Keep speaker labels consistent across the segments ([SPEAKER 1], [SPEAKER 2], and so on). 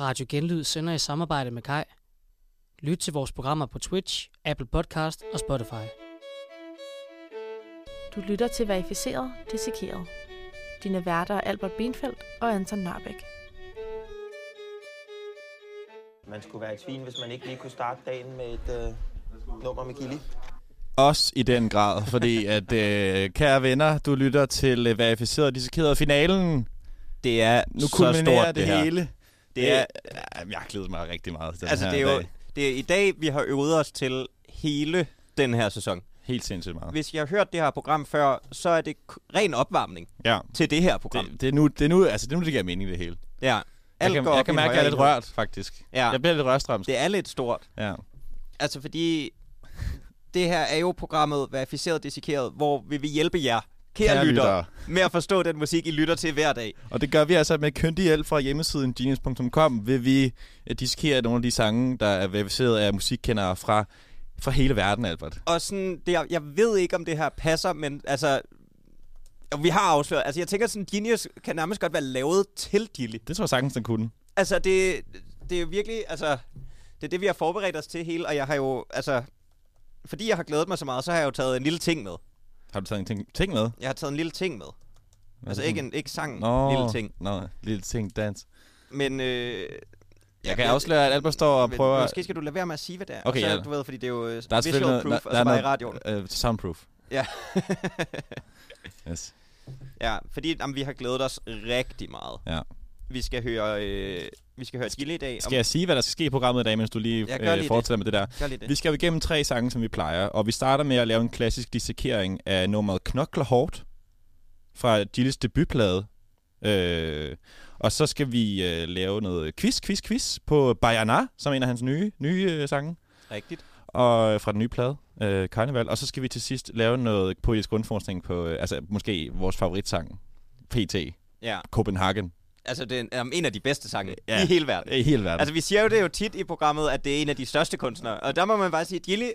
[SPEAKER 1] Radio Genlyd sender i samarbejde med Kai. Lyt til vores programmer på Twitch, Apple Podcast og Spotify.
[SPEAKER 2] Du lytter til Verificeret Dissekeret. Dine værter er Albert Benfeldt og Anton Narbæk.
[SPEAKER 3] Man skulle være et svin, hvis man ikke lige kunne starte dagen med et øh, nummer med Gilly.
[SPEAKER 4] Også i den grad, fordi at, øh, kære venner, du lytter til øh, verificeret og dissekeret finalen.
[SPEAKER 5] Det er
[SPEAKER 4] Nu
[SPEAKER 5] nu så
[SPEAKER 4] kulminerer
[SPEAKER 5] stort
[SPEAKER 4] det,
[SPEAKER 5] det, her.
[SPEAKER 4] hele. Øh,
[SPEAKER 5] Det er,
[SPEAKER 4] ja, jeg glæder mig rigtig meget til den
[SPEAKER 5] altså,
[SPEAKER 4] her
[SPEAKER 5] det er jo,
[SPEAKER 4] dag.
[SPEAKER 5] det er i dag, vi har øvet os til hele den her sæson.
[SPEAKER 4] Helt sindssygt meget.
[SPEAKER 5] Hvis jeg har hørt det her program før, så er det k- ren opvarmning
[SPEAKER 4] Ja,
[SPEAKER 5] til det her program. Det,
[SPEAKER 4] det, det, er nu, det, er nu, altså, det er nu, det giver mening, det hele.
[SPEAKER 5] ja.
[SPEAKER 4] Jeg
[SPEAKER 5] Alt
[SPEAKER 4] kan,
[SPEAKER 5] går
[SPEAKER 4] jeg
[SPEAKER 5] op i
[SPEAKER 4] kan
[SPEAKER 5] en
[SPEAKER 4] mærke, at jeg er lidt
[SPEAKER 5] højere
[SPEAKER 4] rørt, faktisk.
[SPEAKER 5] enhed. Ja,
[SPEAKER 4] Jeg bliver lidt rørstrømsk.
[SPEAKER 5] det er lidt stort.
[SPEAKER 4] Ja.
[SPEAKER 5] Altså, fordi det her er jo programmet Verificeret Dissekeret, hvor vi vil hjælpe jer, kære,
[SPEAKER 4] Kære
[SPEAKER 5] kære lytter,
[SPEAKER 4] lyttere.
[SPEAKER 5] lytter, med at forstå den musik, I lytter til hver dag.
[SPEAKER 4] Og det gør vi altså med køndig hjælp fra hjemmesiden genius.com, vil vi øh, dissekere nogle af de sange, der er verificeret af musikkendere fra, fra hele verden, Albert.
[SPEAKER 5] og sådan, det, jeg, jeg ved ikke, om det her passer, men altså, og vi har afsløret, altså jeg tænker sådan, Genius kan nærmest godt være lavet til Gilly.
[SPEAKER 4] Det tror jeg sagtens, den kunne.
[SPEAKER 5] Altså det, det er virkelig, altså, det er det, vi har forberedt os til hele, og jeg har jo, altså, fordi jeg har glædet mig så meget, så har jeg jo taget en lille ting med.
[SPEAKER 4] Har du taget en ting, ting med?
[SPEAKER 5] Jeg har taget en lille ting med.
[SPEAKER 4] Hvad
[SPEAKER 5] Altså
[SPEAKER 4] er det
[SPEAKER 5] ikke,
[SPEAKER 4] for
[SPEAKER 5] en, ikke sangen,
[SPEAKER 4] Nå,
[SPEAKER 5] en lille ting.
[SPEAKER 4] Nå, lille ting, dans.
[SPEAKER 5] Men øh,
[SPEAKER 4] Jeg kan afsløre, at Albert står og
[SPEAKER 5] men
[SPEAKER 4] prøver...
[SPEAKER 5] Måske skal du lade være med at sige, hvad det er.
[SPEAKER 4] Okay,
[SPEAKER 5] og så,
[SPEAKER 4] ja.
[SPEAKER 5] du ved, fordi det er jo øh,
[SPEAKER 4] Der er
[SPEAKER 5] visual
[SPEAKER 4] selvfølgelig noget,
[SPEAKER 5] proof,
[SPEAKER 4] der,
[SPEAKER 5] og
[SPEAKER 4] der
[SPEAKER 5] så
[SPEAKER 4] er
[SPEAKER 5] bare i radioen.
[SPEAKER 4] noget, øh, soundproof.
[SPEAKER 5] Ja.
[SPEAKER 4] Yes.
[SPEAKER 5] Ja, fordi jamen, vi har glædet os rigtig meget.
[SPEAKER 4] Ja.
[SPEAKER 5] Vi skal høre, øh, vi skal høre Gilly i dag.
[SPEAKER 4] Skal jeg sige, hvad der skal ske i programmet i dag, mens du lige,
[SPEAKER 5] Jeg gør
[SPEAKER 4] øh,
[SPEAKER 5] lige
[SPEAKER 4] fortsætter med det der?
[SPEAKER 5] Gør lige det.
[SPEAKER 4] Vi skal jo igennem tre sange, som vi plejer, og vi starter med at lave en klassisk dissekering af nummeret Knokler Hårdt fra Gilles debutplade. Øh, og så skal vi øh, lave noget quiz, quiz, quiz på Bayana, som er en af hans nye, nye øh, sange
[SPEAKER 5] Rigtigt.
[SPEAKER 4] og øh, fra den nye plade, øh, Carnival. Og så skal vi til sidst lave noget poetisk grundforskning på, øh, altså måske vores favoritsang, PT,
[SPEAKER 5] Ja,
[SPEAKER 4] Copenhagen,
[SPEAKER 5] altså det er en- jamen, en af de bedste sange
[SPEAKER 4] Ja.
[SPEAKER 5] ja. i hele verden.
[SPEAKER 4] i hele verden.
[SPEAKER 5] Altså vi siger jo det jo tit i programmet, at det er en af de største kunstnere. Og der må man bare sige, Gilly,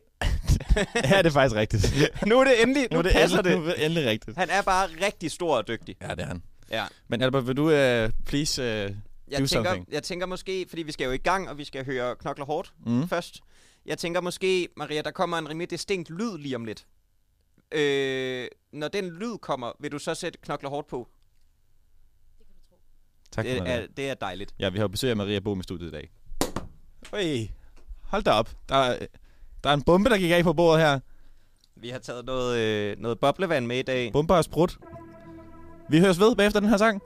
[SPEAKER 4] ja, det er faktisk rigtigt.
[SPEAKER 5] nu er det endelig, nu, nu det passer
[SPEAKER 4] endelig,
[SPEAKER 5] endelig.
[SPEAKER 4] Nu er det endelig rigtigt.
[SPEAKER 5] det. Han er bare rigtig stor og dygtig.
[SPEAKER 4] Ja, det er han.
[SPEAKER 5] Ja.
[SPEAKER 4] Men Albert, vil du uh, please... Uh,
[SPEAKER 5] Jeg
[SPEAKER 4] Do
[SPEAKER 5] tænker,
[SPEAKER 4] something.
[SPEAKER 5] jeg tænker måske, fordi vi skal jo i gang, og vi skal høre Knokler Hårdt
[SPEAKER 4] Mm.
[SPEAKER 5] mm. først. Jeg tænker måske, Maria, der kommer en rimelig distinkt lyd lige om lidt. Øh, når den lyd kommer, vil du så sætte Knokler Hårdt på?
[SPEAKER 4] tak for
[SPEAKER 5] Det
[SPEAKER 4] det.
[SPEAKER 5] er, det er dejligt.
[SPEAKER 4] Ja, vi har jo besøg af Maria Bohm i studiet i dag. Oi, hold da op. Der, er- der er en bombe, der gik af på bordet her.
[SPEAKER 5] Vi har taget noget, øh, noget boblevand med i dag.
[SPEAKER 4] Bomber og sprut. Vi høres ved bagefter den her sang.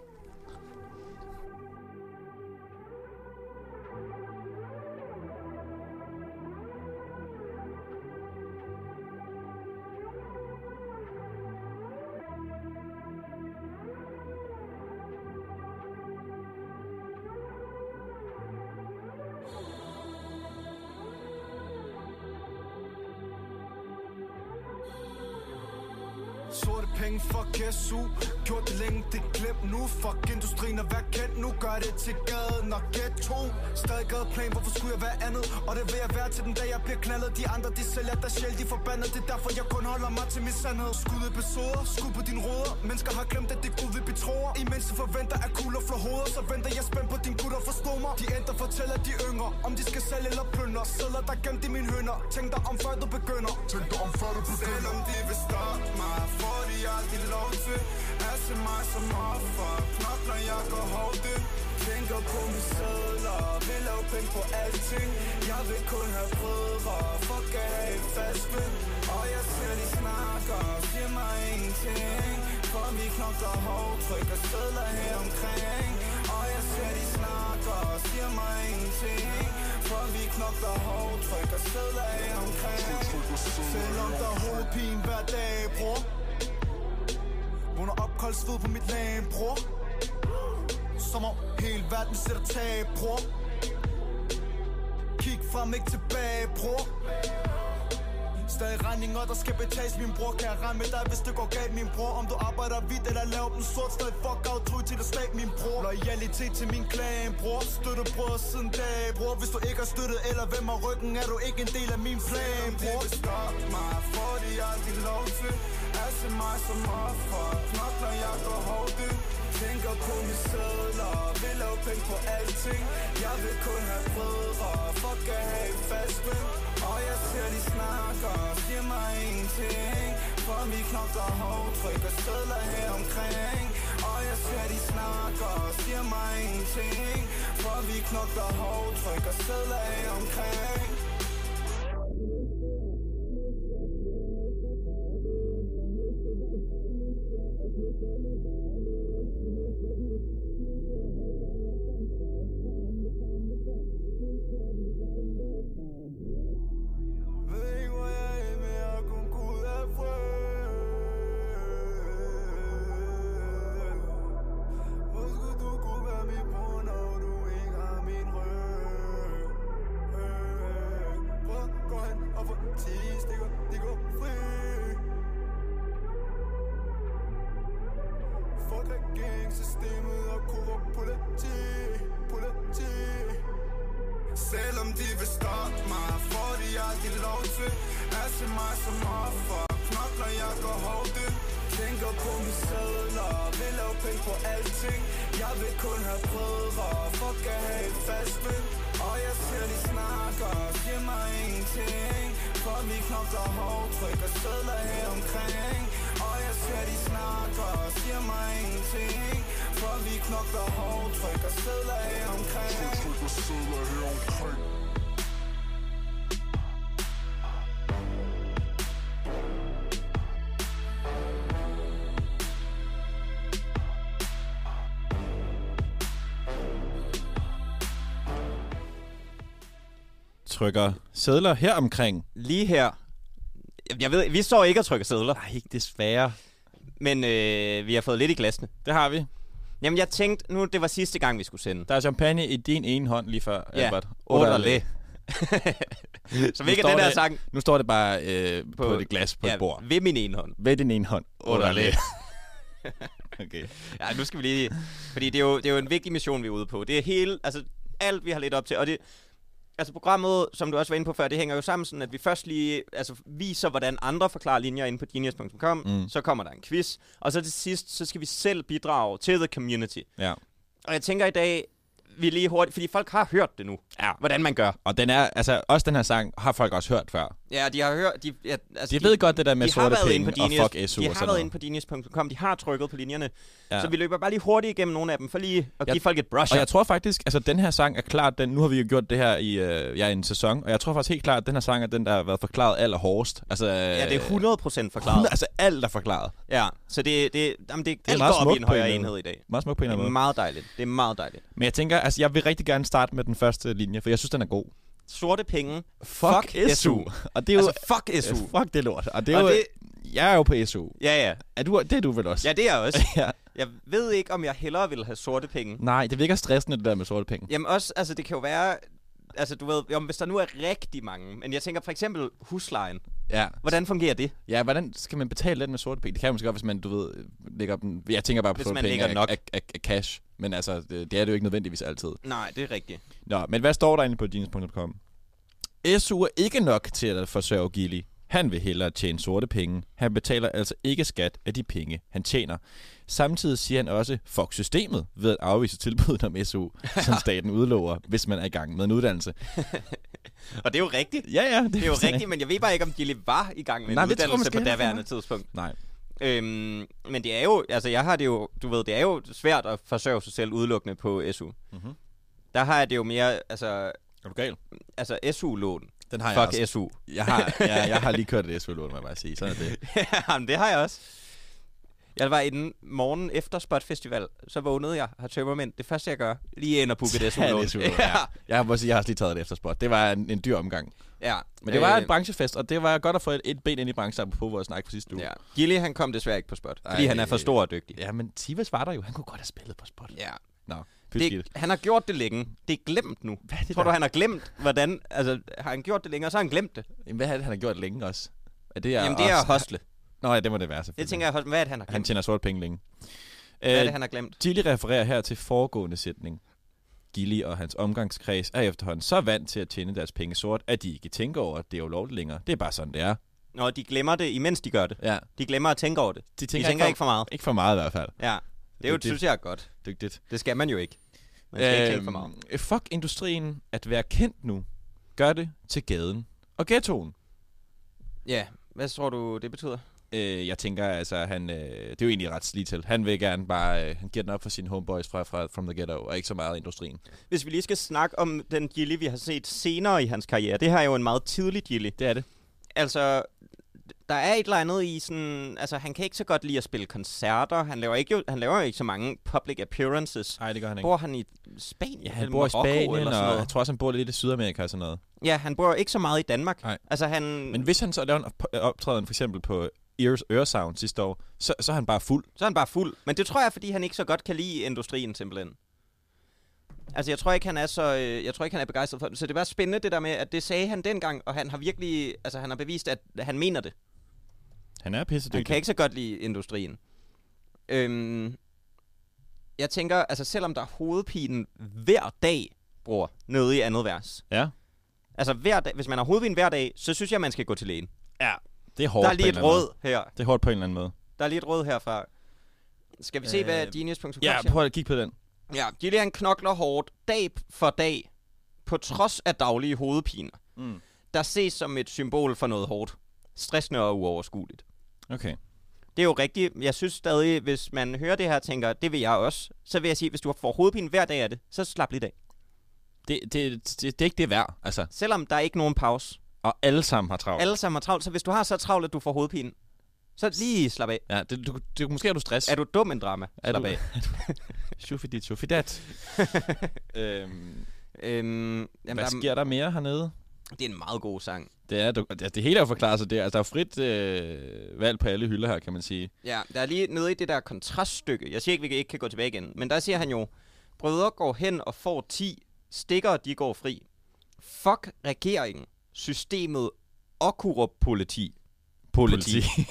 [SPEAKER 6] Sorte penge, fuck SU Gjort det længe, det er glemt nu Fuck industrien og vær kendt nu Gør det til gaden og ghetto Stadig gadeplan, hvorfor skulle jeg være andet? Og det vil jeg være til den dag, jeg bliver knaldet De andre, de sælger der sjæl, de er forbandet Det er derfor, jeg kun holder mig til min sandhed Skud episoder, skud på din råder Mennesker har glemt, at det er Gud, vi betroer Imens de forventer, at kugler flår hoveder Så venter jeg spændt på din gutter, forstå mig De ændrer, fortæller de yngre Om de skal sælge eller plønder Sædler, der er gemt i mine hønder Tænk dig om, før du begynder Tænk dig om, før du begynder Selvom de vil stoppe mig Får de aldrig lov til At se mig som offer Knop, når jeg går hårdt ind Tænker på mine sædler Vil lave penge på alting Jeg vil kun have brødre Fuck at have en fast ven Og jeg ser de snakker Siger mig ingenting For vi knokler hårdt Trykker sædler her omkring Og jeg ser de snakker Siger mig ingenting For vi knokler hårdt Trykker sædler her omkring Selvom der er hovedpine hver dag, bror Vågner opkoldt sved på mit lag, bror Som om hele verden sætter tag, bror Kig frem, ikke tilbage, bror Stadig regninger, der skal betales Min bror kan jeg ramme dig, hvis det går galt Min bror, om du arbejder hvidt eller laver dem sort Stadig fuck out, tro til at stab min bror Loyalitet til min klan, bror Støtte bror siden dag, bror Hvis du ikke har støttet eller hvem har ryggen Er du ikke en del af min plan, bror Stop mig, for det jeg aldrig lov til At se mig som offer Knokler jeg går hårdt ud. Tænker på min sædler Vil lave penge på alting Jeg vil kun have brødre Fuck at have et fast spil Og jeg ser de snakker Siger mig ingenting For vi knokler hårdt Trykker sædler her omkring Og jeg ser de snakker Siger mig ingenting For vi knokler hårdt Trykker sædler her omkring Ved ikke, hvor jeg er, men jeg er kun Gud af fred. Hvor skulle du kunne være min bror, når du ikke har min røg? Hvor går han og får 10 stikker, de går fri. Fuck regeringssystemet og korrupt politi, politi. Selvom de vil stoppe mig, får de aldrig lov til At se mig som offer, knokler jeg går hårdt ud Tænker på mine sædler, vil lave penge på alting Jeg vil kun have brødre, fuck at have et fast spil Og jeg ser de snakker, giver mig ingenting For vi knokler hårdt, trykker sædler her omkring Og jeg ser de snakker, giver mig ingenting For vi knokler hårdt, trykker sædler her omkring
[SPEAKER 4] Trykker sædler her omkring.
[SPEAKER 5] Lige her. Jeg ved, vi står ikke og trykker sædler,
[SPEAKER 4] Nej, desværre.
[SPEAKER 5] men øh, vi har fået lidt i glasene.
[SPEAKER 4] Det har vi.
[SPEAKER 5] Jamen, jeg tænkte nu, det var sidste gang, vi skulle sende.
[SPEAKER 4] Der er champagne i din ene hånd lige før, Albert.
[SPEAKER 5] Underlig. Så
[SPEAKER 4] Nu
[SPEAKER 5] hvilket
[SPEAKER 4] står
[SPEAKER 5] den der
[SPEAKER 4] det
[SPEAKER 5] sang
[SPEAKER 4] Nu står det bare øh, på,
[SPEAKER 5] På-
[SPEAKER 4] på et glas på ja, et bord.
[SPEAKER 5] ved min ene hånd.
[SPEAKER 4] Ved din ene hånd.
[SPEAKER 5] Underlig.
[SPEAKER 4] okay.
[SPEAKER 5] Ja, nu skal vi lige... Fordi det er, jo, det er jo en vigtig mission, vi er ude på. Det er hele... Altså, alt vi har lidt op til. Og det... Altså, programmet, som du også var inde på før, det hænger jo sammen sådan, at vi først lige altså, viser, hvordan andre forklarer linjer inde på genius.com. Mm.
[SPEAKER 4] Mm.
[SPEAKER 5] Så kommer der en quiz. Og så til sidst, så skal vi selv bidrage til the community.
[SPEAKER 4] Ja.
[SPEAKER 5] Og jeg tænker i dag, vi lige hurtigt... Fordi folk har hørt det nu. Ja. Hvordan man gør.
[SPEAKER 4] Og den er, altså, også den her sang har folk også hørt før.
[SPEAKER 5] Ja, de har hørt... De, ja, altså,
[SPEAKER 4] De, ved godt det der med
[SPEAKER 5] de har
[SPEAKER 4] sorte
[SPEAKER 5] været inde
[SPEAKER 4] penge
[SPEAKER 5] på
[SPEAKER 4] og
[SPEAKER 5] Genius.
[SPEAKER 4] fuck SU
[SPEAKER 5] de
[SPEAKER 4] og
[SPEAKER 5] har
[SPEAKER 4] sådan
[SPEAKER 5] været
[SPEAKER 4] noget.
[SPEAKER 5] inde på genius.com. De har trykket på linjerne. Ja.
[SPEAKER 4] Ja.
[SPEAKER 5] Så vi løber bare lige hurtigt igennem nogle af dem, for lige at
[SPEAKER 4] Jeg-
[SPEAKER 5] give folk et brush
[SPEAKER 4] Og jeg tror faktisk, altså den her sang er klart, den, nu har vi jo gjort det her i øh, ja, en sæson, og jeg tror faktisk helt klart, at den her sang er den, der har været forklaret allerhårdest. Altså,
[SPEAKER 5] Ja, det er 100% forklaret.
[SPEAKER 4] 100, altså alt er forklaret.
[SPEAKER 5] Ja, så det, det, jamen det, det
[SPEAKER 4] er
[SPEAKER 5] alt
[SPEAKER 4] meget
[SPEAKER 5] går op i
[SPEAKER 4] smukt
[SPEAKER 5] en
[SPEAKER 4] på en
[SPEAKER 5] højere
[SPEAKER 4] måde.
[SPEAKER 5] enhed i dag.
[SPEAKER 4] Meget smukt på en
[SPEAKER 5] Det
[SPEAKER 4] eller anden
[SPEAKER 5] er
[SPEAKER 4] måde.
[SPEAKER 5] meget dejligt. Det er meget dejligt.
[SPEAKER 4] Men jeg tænker, altså jeg vil rigtig gerne starte med den første linje, for jeg synes, den er god.
[SPEAKER 5] Sorte penge.
[SPEAKER 4] Fuck, SU. Og det er jo...
[SPEAKER 5] Altså, fuck SU.
[SPEAKER 4] Ja, Fuck det lort. Og det er
[SPEAKER 5] Og
[SPEAKER 4] jo...
[SPEAKER 5] det-
[SPEAKER 4] Jeg er jo på SU.
[SPEAKER 5] Ja, ja.
[SPEAKER 4] Er du, det er du vel også?
[SPEAKER 5] Ja, det er jeg også.
[SPEAKER 4] ja.
[SPEAKER 5] Jeg ved ikke, om jeg hellere ville have sorte penge.
[SPEAKER 4] Nej, det virker stressende, det der med sorte penge.
[SPEAKER 5] Jamen også, altså det kan jo være... Altså du ved, om hvis der nu er rigtig mange... Men jeg tænker for eksempel huslejen.
[SPEAKER 4] Ja.
[SPEAKER 5] Hvordan fungerer det?
[SPEAKER 4] Ja, hvordan skal man betale den med sorte penge? Det kan man måske godt, hvis man, du ved, øh, lægger dem... Jeg tænker bare på
[SPEAKER 5] Hvis
[SPEAKER 4] sorte
[SPEAKER 5] man
[SPEAKER 4] penge
[SPEAKER 5] lægger
[SPEAKER 4] af,
[SPEAKER 5] nok.
[SPEAKER 4] Af, af, af, cash. Men altså, det, det er det jo ikke nødvendigvis altid.
[SPEAKER 5] Nej, det er rigtigt.
[SPEAKER 4] Nå, men hvad står der inde på jeans.com? SU er ikke nok til at forsørge Gilly. Han vil hellere tjene sorte penge. Han betaler altså ikke skat af de penge, han tjener. Samtidig siger han også, fuck systemet, ved at afvise tilbuddet om SU, som staten udlover, hvis man er i gang med en uddannelse.
[SPEAKER 5] Og det er jo rigtigt.
[SPEAKER 4] Ja, ja.
[SPEAKER 5] Det er jo rigtigt, men jeg ved bare ikke, om Gilly var i gang med
[SPEAKER 4] Nej,
[SPEAKER 5] en
[SPEAKER 4] det tror jeg
[SPEAKER 5] uddannelse
[SPEAKER 4] måske
[SPEAKER 5] på
[SPEAKER 4] heller ikke,
[SPEAKER 5] daværende
[SPEAKER 4] han
[SPEAKER 5] tidspunkt.
[SPEAKER 4] Nej.
[SPEAKER 5] Øhm, men det er jo, altså jeg har det jo, du ved, det er jo svært at forsørge sig selv udelukkende på SU. Mm-hmm.
[SPEAKER 4] Mhm.
[SPEAKER 5] Der har jeg det jo mere, altså,
[SPEAKER 4] Er du gal?
[SPEAKER 5] altså SU-lån.
[SPEAKER 4] Den har jeg
[SPEAKER 5] Fuck
[SPEAKER 4] også.
[SPEAKER 5] SU.
[SPEAKER 4] Jeg har, ja, jeg har lige kørt et SU-lån, må jeg bare sige. Sådan er det.
[SPEAKER 5] Jamen, det har jeg også. Jeg var inde morgen efter Spot Festival, så vågnede jeg, har tømmermænd. Det første, jeg gør, lige ind og booke et
[SPEAKER 4] Tag
[SPEAKER 5] SU-lån.
[SPEAKER 4] et SU-lån, ja. Jeg må sige, jeg har også lige taget et efterspot. Det var en, en dyr omgang.
[SPEAKER 5] ja.
[SPEAKER 4] Men det var
[SPEAKER 5] Øh,
[SPEAKER 4] et branchefest, og det var godt at få et, et ben ind i branchen, på vores snak for sidste uge.
[SPEAKER 5] ja. Gilly, han kom desværre ikke på Spot, fordi
[SPEAKER 4] Ej.
[SPEAKER 5] han er for stor og dygtig.
[SPEAKER 4] Ja, men Tivas var der jo. Han kunne godt have spillet på spot.
[SPEAKER 5] Ja.
[SPEAKER 4] Nå,
[SPEAKER 5] Det,
[SPEAKER 4] det...
[SPEAKER 5] han har gjort det længe. Det er glemt nu.
[SPEAKER 4] Hvad er det
[SPEAKER 5] Tror
[SPEAKER 4] der?
[SPEAKER 5] du, han har glemt, hvordan... Altså, har han gjort det længe, og så har han glemt det?
[SPEAKER 4] Jamen, hvad er det, han har gjort længe også? Er det er
[SPEAKER 5] Jamen, det er at
[SPEAKER 4] også...
[SPEAKER 5] hostle.
[SPEAKER 4] Nå ja, det må det være selvfølgelig.
[SPEAKER 5] Det tænker jeg, hostle. hvad er det, han har
[SPEAKER 4] Han
[SPEAKER 5] glemt?
[SPEAKER 4] tjener sorte penge længe.
[SPEAKER 5] Hvad er det,
[SPEAKER 4] Øh,
[SPEAKER 5] han har glemt?
[SPEAKER 4] Gilly refererer her til foregående sætning. Gilly og hans omgangskreds er efterhånden så vant til at tjene deres penge sort, at de ikke tænker over, at det er ulovligt længere. Det er bare sådan, det er.
[SPEAKER 5] Nå, de glemmer det, imens de gør det.
[SPEAKER 4] Ja.
[SPEAKER 5] De glemmer at tænke over det.
[SPEAKER 4] De
[SPEAKER 5] De
[SPEAKER 4] tænker,
[SPEAKER 5] tænker ikke for meget.
[SPEAKER 4] Ikke for meget i hvert fald.
[SPEAKER 5] Ja, det er jo,
[SPEAKER 4] Det- det-
[SPEAKER 5] synes jeg, er godt.
[SPEAKER 4] Dygtigt.
[SPEAKER 5] Det skal man jo ikke. Man skal ikke tænke for meget.
[SPEAKER 4] øh, fuck industrien. At være kendt nu, gør det til gaden og ghettoen.
[SPEAKER 5] Ja, hvad tror du, det betyder?
[SPEAKER 4] Øh, jeg tænker, altså, han, øh, det er jo egentlig ret slidt til. Han vil gerne bare, øh, han giver den op for sine homeboys fra, fra From the Ghetto, og ikke så meget industrien.
[SPEAKER 5] Hvis vi lige skal snakke om den Gilly, vi har set senere i hans karriere. Det her er jo en meget tidlig Gilly.
[SPEAKER 4] Det er det.
[SPEAKER 5] Altså, der er et eller andet i sådan... Altså, han kan ikke så godt lide at spille koncerter. Han laver, ikke, jo- han laver jo ikke så mange public appearances.
[SPEAKER 4] Nej, det gør han ikke.
[SPEAKER 5] Bor han i Spanien?
[SPEAKER 4] Ja, han
[SPEAKER 5] eller
[SPEAKER 4] bor i
[SPEAKER 5] Marokko
[SPEAKER 4] Spanien,
[SPEAKER 5] eller sådan
[SPEAKER 4] og Mm. jeg
[SPEAKER 5] noget?
[SPEAKER 4] tror også, han bor lidt i Sydamerika og sådan noget.
[SPEAKER 5] Ja, han bor jo ikke så meget i Danmark.
[SPEAKER 4] Nej.
[SPEAKER 5] Altså, han...
[SPEAKER 4] Men hvis han så laver en op- optræden for eksempel på Ears Øresound sidste år, så, så er han bare fuld.
[SPEAKER 5] Så er han bare fuld. Men det tror jeg, fordi han ikke så godt kan lide industrien simpelthen. Altså, jeg tror ikke, han er så... Øh, jeg tror ikke, han er begejstret for den. Så det var spændende, det der med, at det sagde han dengang, og han har virkelig... Altså, han har bevist, at han mener det.
[SPEAKER 4] Han er
[SPEAKER 5] Han kan
[SPEAKER 4] pissedygtig.
[SPEAKER 5] ikke så godt lide industrien. Øhm, jeg tænker, altså, selvom der er hovedpinen hver dag, bror, nede i andet vers.
[SPEAKER 4] Ja,
[SPEAKER 5] Altså, hver dag, hvis man har hovedpine hver dag, så synes jeg, man skal gå til lægen.
[SPEAKER 4] det er hårdt
[SPEAKER 5] Der er lige
[SPEAKER 4] på en eller
[SPEAKER 5] et
[SPEAKER 4] anden
[SPEAKER 5] råd her.
[SPEAKER 4] Måde. Det er hårdt på en eller anden måde.
[SPEAKER 5] Der er lige et råd herfra. Skal vi se, hvad
[SPEAKER 4] Øh,
[SPEAKER 5] genius.com siger?
[SPEAKER 4] Ja, prøv at kigge på den.
[SPEAKER 5] Ja, Gillian knokler hårdt dag for dag, på trods af daglige hovedpiner,
[SPEAKER 4] Mm.
[SPEAKER 5] der ses som et symbol for noget hårdt. Stressende og uoverskueligt.
[SPEAKER 4] Okay.
[SPEAKER 5] Det er jo rigtigt. Jeg synes stadig, hvis man hører det her og tænker, det vil jeg også, så vil jeg sige, hvis du får hovedpine hver dag af det, så slap lidt af.
[SPEAKER 4] Det, det, det, det er ikke det værd, altså.
[SPEAKER 5] Selvom der er ikke nogen pause.
[SPEAKER 4] Og alle sammen har travlt.
[SPEAKER 5] Alle sammen har travlt, så hvis du har så travlt, at du får hovedpine, så lige slap af.
[SPEAKER 4] Ja, det, du, det, måske er du stress.
[SPEAKER 5] Er du dum en drama?
[SPEAKER 4] er
[SPEAKER 5] Slap
[SPEAKER 4] du
[SPEAKER 5] af.
[SPEAKER 4] bag? Shufidat, shufidat. øhm,
[SPEAKER 5] Øhm, jamen, der,
[SPEAKER 4] hvad
[SPEAKER 5] er-
[SPEAKER 4] sker der mere hernede?
[SPEAKER 5] det er en meget god sang.
[SPEAKER 4] Det, er, du, altså, det hele er jo forklaret sig der. Altså, der er frit øh, valg på alle hylder her, kan man sige.
[SPEAKER 5] Ja, der er lige nede i det der kontraststykke. Jeg siger ikke, vi kan- ikke kan gå tilbage igen, men der siger han jo, brødre går hen og får 10, stikker de går fri. Fuck regeringen, systemet og korrupt politi.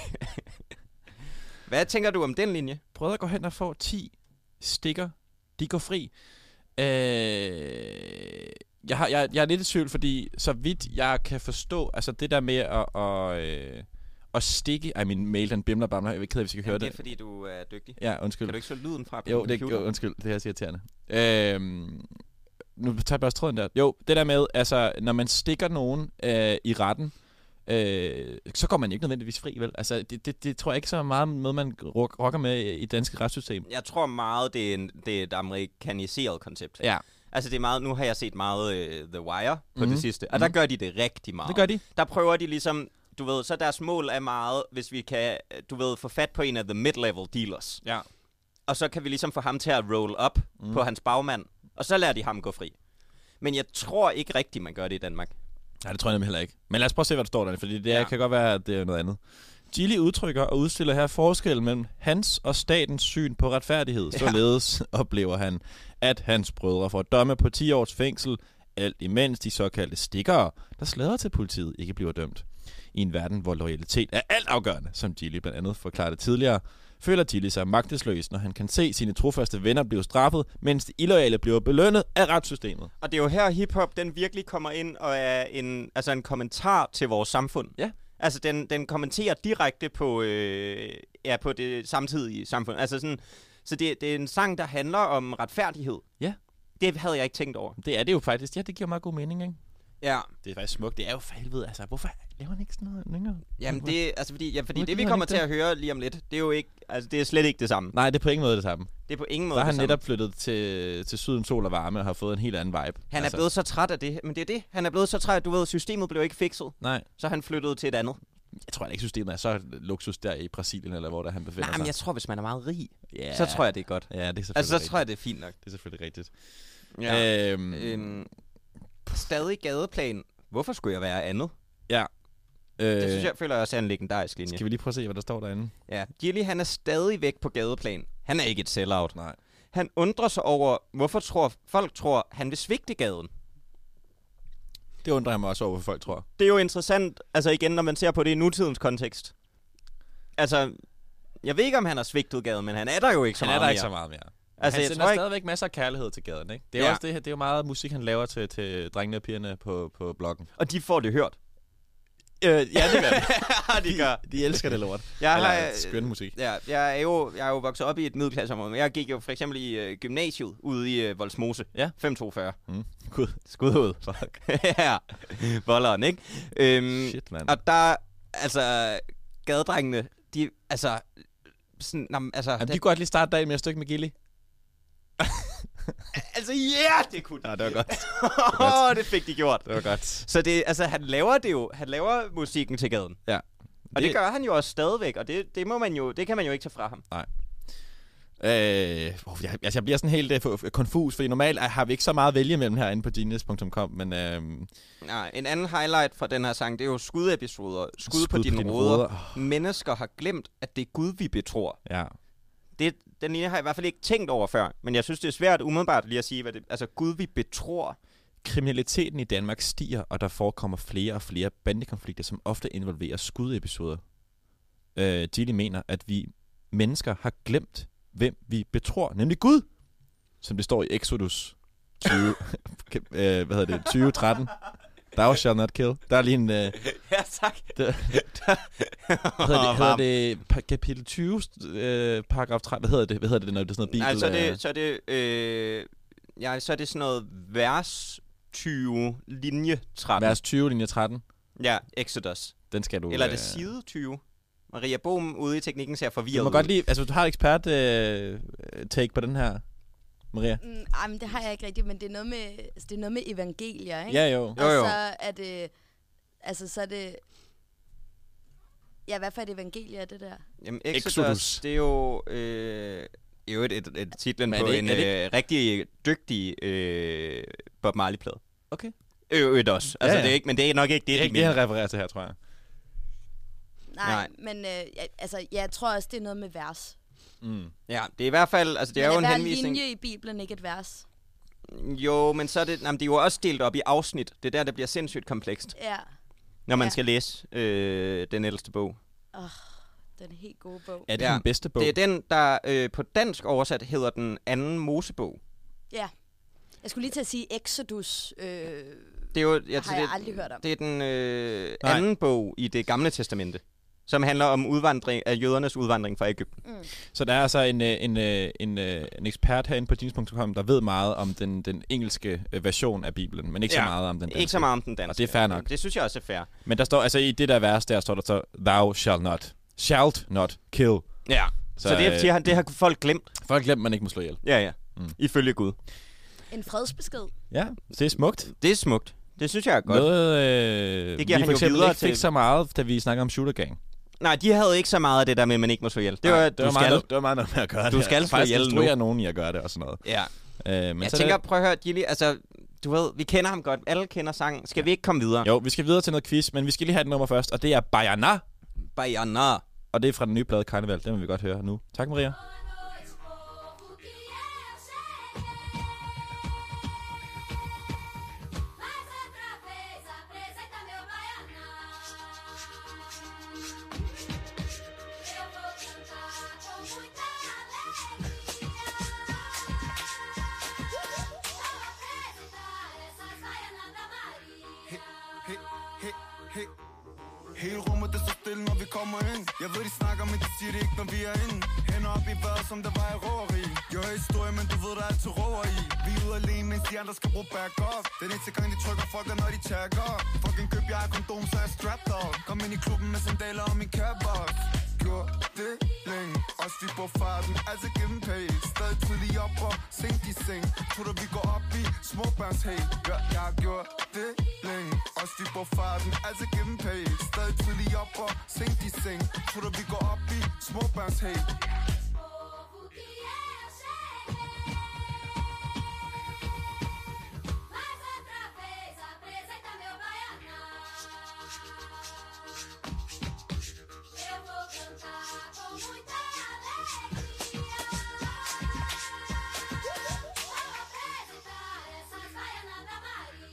[SPEAKER 5] Hvad tænker du om den linje?
[SPEAKER 4] Brødre går hen og får 10 stikker. De går fri. Øh, jeg, har, jeg, jeg er lidt i tvivl, fordi så vidt jeg kan forstå, altså det der med at, at, øh, at stikke... Ej, min mail, den bimler bare. Jeg er ked af, hvis I kan høre
[SPEAKER 5] det
[SPEAKER 4] det.
[SPEAKER 5] er, fordi du er dygtig.
[SPEAKER 4] Ja, undskyld.
[SPEAKER 5] Kan du ikke så lyden fra på
[SPEAKER 4] Jo, det, jo,
[SPEAKER 5] computer?
[SPEAKER 4] undskyld, det er så irriterende. Øhm, nu tager jeg også tråden der. Jo, det der med, altså, når man stikker nogen øh, i retten, øh, så går man ikke nødvendigvis fri, vel? Altså, det, det, det tror jeg ikke så meget med, man rock- rocker med i i det danske retssystem.
[SPEAKER 5] Jeg tror meget, det er, en, det er et amerikaniseret koncept.
[SPEAKER 4] Ja,
[SPEAKER 5] Altså, det er meget, nu har jeg set meget øh, The Wire på
[SPEAKER 4] Mhm.
[SPEAKER 5] det sidste, og der gør de det rigtig meget.
[SPEAKER 4] det gør de.
[SPEAKER 5] der prøver de ligesom, du ved, så deres mål er meget, hvis vi kan, du ved, få fat på en af the mid-level dealers.
[SPEAKER 4] Ja.
[SPEAKER 5] Og så kan vi ligesom få ham til at roll up mm. på hans bagmand, og så lader de ham gå fri. Men jeg tror ikke rigtigt, man gør det i Danmark.
[SPEAKER 4] Nej, det tror jeg nemlig heller ikke. Men lad os prøve at se, hvad der står der, fordi det ja.
[SPEAKER 5] Ja.
[SPEAKER 4] kan godt være, at det er noget andet. Gilly udtrykker og udstiller her forskellen mellem hans og statens syn på retfærdighed. Ja.
[SPEAKER 5] Ja.
[SPEAKER 4] Således oplever han, at hans brødre får domme på 10 års fængsel, alt imens de såkaldte stikkere, der slader til politiet, ikke bliver dømt. I en verden, hvor loyalitet er altafgørende, som Gilly blandt andet forklarede tidligere, føler Gilly sig magtesløs, når han kan se sine trofaste venner blive straffet, mens de illoyale bliver belønnet af retssystemet.
[SPEAKER 5] Og det er jo her, hiphop, den virkelig kommer ind og er en, altså en kommentar til vores samfund.
[SPEAKER 4] Ja.
[SPEAKER 5] Altså, den, den kommenterer direkte på, øh, ja, på det samtidige samfund. Altså sådan, så det, det er en sang, der handler om retfærdighed.
[SPEAKER 4] Ja.
[SPEAKER 5] Det havde jeg ikke tænkt over.
[SPEAKER 4] Det er det jo faktisk. Ja, det giver meget god mening, ikke?
[SPEAKER 5] Ja.
[SPEAKER 4] Det er faktisk smukt. Det er jo for helvede. Altså, hvorfor laver han ikke sådan noget yngre?
[SPEAKER 5] Jamen det, altså fordi, ja, fordi
[SPEAKER 4] Hvorfor
[SPEAKER 5] det vi
[SPEAKER 4] gider han
[SPEAKER 5] kommer
[SPEAKER 4] ikke
[SPEAKER 5] til
[SPEAKER 4] det?
[SPEAKER 5] at høre lige om lidt, det er jo ikke, altså det er slet ikke det samme.
[SPEAKER 4] Nej, det er på ingen måde det samme.
[SPEAKER 5] Det er på ingen måde
[SPEAKER 4] Der er
[SPEAKER 5] det
[SPEAKER 4] han
[SPEAKER 5] samme.
[SPEAKER 4] netop flyttet til, til syden, sol og varme og har fået en helt anden vibe. Altså,
[SPEAKER 5] Han er blevet så træt af det, men det er det, han er blevet så træt, at du ved, systemet blev ikke fikset,
[SPEAKER 4] Nej,
[SPEAKER 5] så han flyttede til et andet.
[SPEAKER 4] jeg tror ikke, systemet er så luksus der i Brasilien, eller hvor der han befinder
[SPEAKER 5] Nej, men jeg
[SPEAKER 4] sig.
[SPEAKER 5] tror, hvis man er meget rig,
[SPEAKER 4] altså. Ja.
[SPEAKER 5] ja. så tror jeg, det er godt.
[SPEAKER 4] Ja, det er selvfølgelig
[SPEAKER 5] Altså så
[SPEAKER 4] rigtigt.
[SPEAKER 5] tror jeg, det er fint nok.
[SPEAKER 4] Det er selvfølgelig rigtigt.
[SPEAKER 5] Øh,
[SPEAKER 4] Ja. Øhm, øhm,
[SPEAKER 5] øhm, stadig gadeplan. Hvorfor skulle jeg være andet?
[SPEAKER 4] øh,
[SPEAKER 5] Det synes jeg, føler jeg også er en legendarisk linje.
[SPEAKER 4] Skal vi lige prøve at se, hvad der står derinde?
[SPEAKER 5] Ja, Gilly han er stadig væk på gadeplan. Han er ikke et sellout.
[SPEAKER 4] Nej.
[SPEAKER 5] Han undrer sig over, hvorfor tror, folk tror, han vil svigte gaden.
[SPEAKER 7] Det undrer jeg mig også over, hvad folk tror.
[SPEAKER 5] det er jo interessant, altså igen, når man ser på det i nutidens kontekst. Altså, jeg ved ikke, om han har svigtet gaden, men han er der jo ikke så
[SPEAKER 4] han er
[SPEAKER 5] meget
[SPEAKER 4] der
[SPEAKER 5] mere.
[SPEAKER 4] ikke så meget mere. Altså,
[SPEAKER 5] Altså,
[SPEAKER 4] han
[SPEAKER 5] jeg
[SPEAKER 4] sender
[SPEAKER 5] tror ikke...
[SPEAKER 4] stadigvæk masser af kærlighed til gaden, ikke? Det er jo
[SPEAKER 5] Ja.
[SPEAKER 4] også det her, det er jo meget musik, han laver til, til drengene og pigerne på, på bloggen.
[SPEAKER 5] Og de får det hørt.
[SPEAKER 4] Øh, ja, det gør det.
[SPEAKER 5] de gør.
[SPEAKER 4] De elsker det lort.
[SPEAKER 5] Jeg
[SPEAKER 4] Eller
[SPEAKER 5] har,
[SPEAKER 4] skøn musik.
[SPEAKER 5] Ja, jeg er jo, jeg er jo vokset op i et middelklasseområde, men jeg gik jo for eksempel i øh, gymnasiet ude i øh, Voldsmose.
[SPEAKER 4] Ja.
[SPEAKER 5] 542.
[SPEAKER 4] Mm.
[SPEAKER 5] Skud. Skud ud. Fuck. ja. Volderen, ikke? Øhm,
[SPEAKER 4] Shit, mand.
[SPEAKER 5] Og der, altså, gadedrengene, de, altså, sådan, nå, men, altså,
[SPEAKER 4] Jamen, de
[SPEAKER 5] det,
[SPEAKER 4] kunne godt lige starte dagen med et stykke med Gilly.
[SPEAKER 5] altså, ja, yeah, det kunne de.
[SPEAKER 4] Ja, det var godt.
[SPEAKER 5] Åh, det fik de gjort.
[SPEAKER 4] Det var godt.
[SPEAKER 5] Så det, altså, han laver det jo, han laver musikken til gaden.
[SPEAKER 4] Ja.
[SPEAKER 5] Og det, det gør han jo også stadigvæk, og det, det, må man jo, det kan man jo ikke tage fra ham.
[SPEAKER 4] Øh, uh, jeg, altså, jeg bliver sådan helt uh, konfus, fordi normalt øh, har vi ikke så meget at vælge mellem herinde på genius.com, men øh,
[SPEAKER 5] Nej, en anden highlight fra den her sang, det er jo skudepisoder. Skud,
[SPEAKER 4] Skud
[SPEAKER 5] på,
[SPEAKER 4] på
[SPEAKER 5] dine,
[SPEAKER 4] dine
[SPEAKER 5] ruder.
[SPEAKER 4] ruder.
[SPEAKER 5] Mennesker har glemt, at det er Gud, vi betror.
[SPEAKER 4] ja.
[SPEAKER 5] Det, den linje har jeg i hvert fald ikke tænkt over før, men jeg synes, det er svært umiddelbart lige at sige, hvad det Altså, Gud, vi betror.
[SPEAKER 4] Kriminaliteten i Danmark stiger, og der forekommer flere og flere bandekonflikter, som ofte involverer skudepisoder. Øh, Gilly mener, at vi mennesker har glemt, hvem vi betror, nemlig Gud, som det står i Exodus 20, øh, hvad hedder det, 2013. Thou shalt not kill. Der er lige en... Øh,
[SPEAKER 5] ja, tak.
[SPEAKER 4] Det- hedder det,
[SPEAKER 5] Åh,
[SPEAKER 4] hedder
[SPEAKER 5] varm.
[SPEAKER 4] det pa- kapitel 20, øh, paragraf 3, hvad hedder det, hvad hedder det, når det er sådan noget bibel?
[SPEAKER 5] Nej, så er
[SPEAKER 4] øh,
[SPEAKER 5] det, så er det, øh, ja, så er det sådan noget vers 20, linje 13.
[SPEAKER 4] øh, vers 20, linje 13,
[SPEAKER 5] Ja, Exodus.
[SPEAKER 4] den skal du...
[SPEAKER 5] Eller er det
[SPEAKER 4] øh,
[SPEAKER 5] side 20? Maria Bohm ude i teknikken ser
[SPEAKER 4] Du
[SPEAKER 5] forvirret
[SPEAKER 4] må
[SPEAKER 5] ud.
[SPEAKER 4] godt lige, altså du har et ekspert øh, take på den her, Maria.
[SPEAKER 8] Mm, ej, men det har jeg ikke rigtigt, men det er noget med, altså, det er noget med evangelier, ikke?
[SPEAKER 4] Ja, jo.
[SPEAKER 5] Jo, jo.
[SPEAKER 8] Og så er det, altså så er det, ja, hvad for et evangelie er det der?
[SPEAKER 5] Jamen, Exodus,
[SPEAKER 4] Exodus.
[SPEAKER 5] Exodus, det er jo... Øh, i øvrigt et, et titlen
[SPEAKER 4] Men er
[SPEAKER 5] på
[SPEAKER 4] det
[SPEAKER 5] en
[SPEAKER 4] ikke- er det
[SPEAKER 5] øh, rigtig dygtig øh, Bob Marley-plade.
[SPEAKER 4] Okay.
[SPEAKER 5] I Øvrigt også. Altså,
[SPEAKER 4] ja.
[SPEAKER 5] Det er ikke, men det er nok ikke det,
[SPEAKER 4] Det er
[SPEAKER 5] de
[SPEAKER 4] ikke det, han
[SPEAKER 5] mener.
[SPEAKER 4] refererer til her, tror jeg.
[SPEAKER 8] Nej,
[SPEAKER 5] Nej.
[SPEAKER 8] Nej. men øh, ja, altså, ja, jeg tror også, det er noget med vers.
[SPEAKER 4] Mm.
[SPEAKER 5] Ja, det er i hvert fald... Altså, det er,
[SPEAKER 8] men
[SPEAKER 5] jo en
[SPEAKER 8] hver
[SPEAKER 5] henvisning.
[SPEAKER 8] linje i Bibelen ikke et vers?
[SPEAKER 5] Jo, men så er det... Jamen, det er jo også delt op i afsnit. Det er der, det bliver sindssygt komplekst,
[SPEAKER 8] Ja,
[SPEAKER 5] når man
[SPEAKER 8] Ja.
[SPEAKER 5] skal læse øh, den ældste bog.
[SPEAKER 8] den helt gode bog.
[SPEAKER 4] Er det ja. den bedste bog?
[SPEAKER 5] Det er den, der øh, på dansk oversat hedder den anden Mosebog.
[SPEAKER 8] Ja. Jeg skulle lige til at sige Exodus. Øh,
[SPEAKER 5] Det er jo, jeg,
[SPEAKER 8] har jeg aldrig hørt om.
[SPEAKER 5] Det er den øh,
[SPEAKER 4] Nej.
[SPEAKER 5] anden bog i det gamle testamente, som handler om udvandring, af jødernes udvandring fra Ægypten.
[SPEAKER 8] Mm.
[SPEAKER 4] Så der er altså en, øh, en, øh, en, øh, en ekspert herinde på jeans.com, der ved meget om den, den engelske øh, version af Bibelen, men ikke ja. så
[SPEAKER 5] Ja,
[SPEAKER 4] meget om den danske.
[SPEAKER 5] Ikke så meget om den danske.
[SPEAKER 4] Og det er fair nok.
[SPEAKER 5] Det synes jeg også er fair.
[SPEAKER 4] Men der står, altså i det der vers, der står der så, thou shalt not, shalt not kill.
[SPEAKER 5] Ja.
[SPEAKER 4] Så,
[SPEAKER 5] Så, så det,
[SPEAKER 4] øh,
[SPEAKER 5] øh, siger han, det har folk glemt.
[SPEAKER 4] Folk glemmer, man ikke må slå ihjel.
[SPEAKER 5] Ja, ja.
[SPEAKER 4] Mm.
[SPEAKER 5] Mm. Ifølge Gud.
[SPEAKER 8] en fredsbesked.
[SPEAKER 4] Ja, det er smukt.
[SPEAKER 5] Det er smukt. Det synes jeg er godt.
[SPEAKER 4] Noget, øh,
[SPEAKER 5] Det giver
[SPEAKER 4] vi
[SPEAKER 5] han
[SPEAKER 4] for
[SPEAKER 5] jo
[SPEAKER 4] eksempel
[SPEAKER 5] videre
[SPEAKER 4] ikke fik
[SPEAKER 5] til-
[SPEAKER 4] så meget, da vi snakker om Shooter Gang.
[SPEAKER 5] Nej, de havde ikke så meget af det der med, at man ikke må slå ihjel. Det var,
[SPEAKER 4] Nej,
[SPEAKER 5] Nej, du
[SPEAKER 4] var
[SPEAKER 5] skal.
[SPEAKER 4] meget, noget- det var meget noget med at gøre
[SPEAKER 5] Du
[SPEAKER 4] det.
[SPEAKER 5] skal
[SPEAKER 4] Altså,
[SPEAKER 5] slå
[SPEAKER 4] faktisk
[SPEAKER 5] ihjel nu.
[SPEAKER 4] instruere nogen i at gøre det og sådan noget.
[SPEAKER 5] Ja.
[SPEAKER 4] Øh, men
[SPEAKER 5] Men jeg
[SPEAKER 4] så er
[SPEAKER 5] tænker, prøv at høre, Gilly, altså, du ved, vi kender ham godt. Alle kender sangen. Skal vi ikke komme videre?
[SPEAKER 4] det, jo, vi skal videre til noget quiz, men vi skal lige have et nummer først, og det er Bayana,
[SPEAKER 5] Bajana.
[SPEAKER 4] og det er fra den nye plade Carnival. Den vil vi godt høre nu. Tak, Maria.
[SPEAKER 9] é
[SPEAKER 6] He, he, he. Hele rummet det så stille, når vi kommer ind Jeg ved, de snakker, men de siger det ikke, når vi er inde Hænder op i vejret, som der var i råeri Jeg hører historie, men du ved, der er altid råer i Vi er ude alene, mens de andre skal bruge back off Den eneste gang, de trykker, fuck er, når de tagger Fucking køb, jeg er kondom, så er jeg strapped up Kom ind i klubben med sandaler og min catbox Gjort det længe Os vi på farten, altså give dem pay Stadig tidlig op og sent i seng Tror du, vi går op i småbørns hey Ja, jeg har gjort det længe Os vi på farten, altså give dem pay Stadig tidlig op og sent i seng Tror du, vi går op i småbørns hey
[SPEAKER 9] Vou apresentar essas baianas da Maria.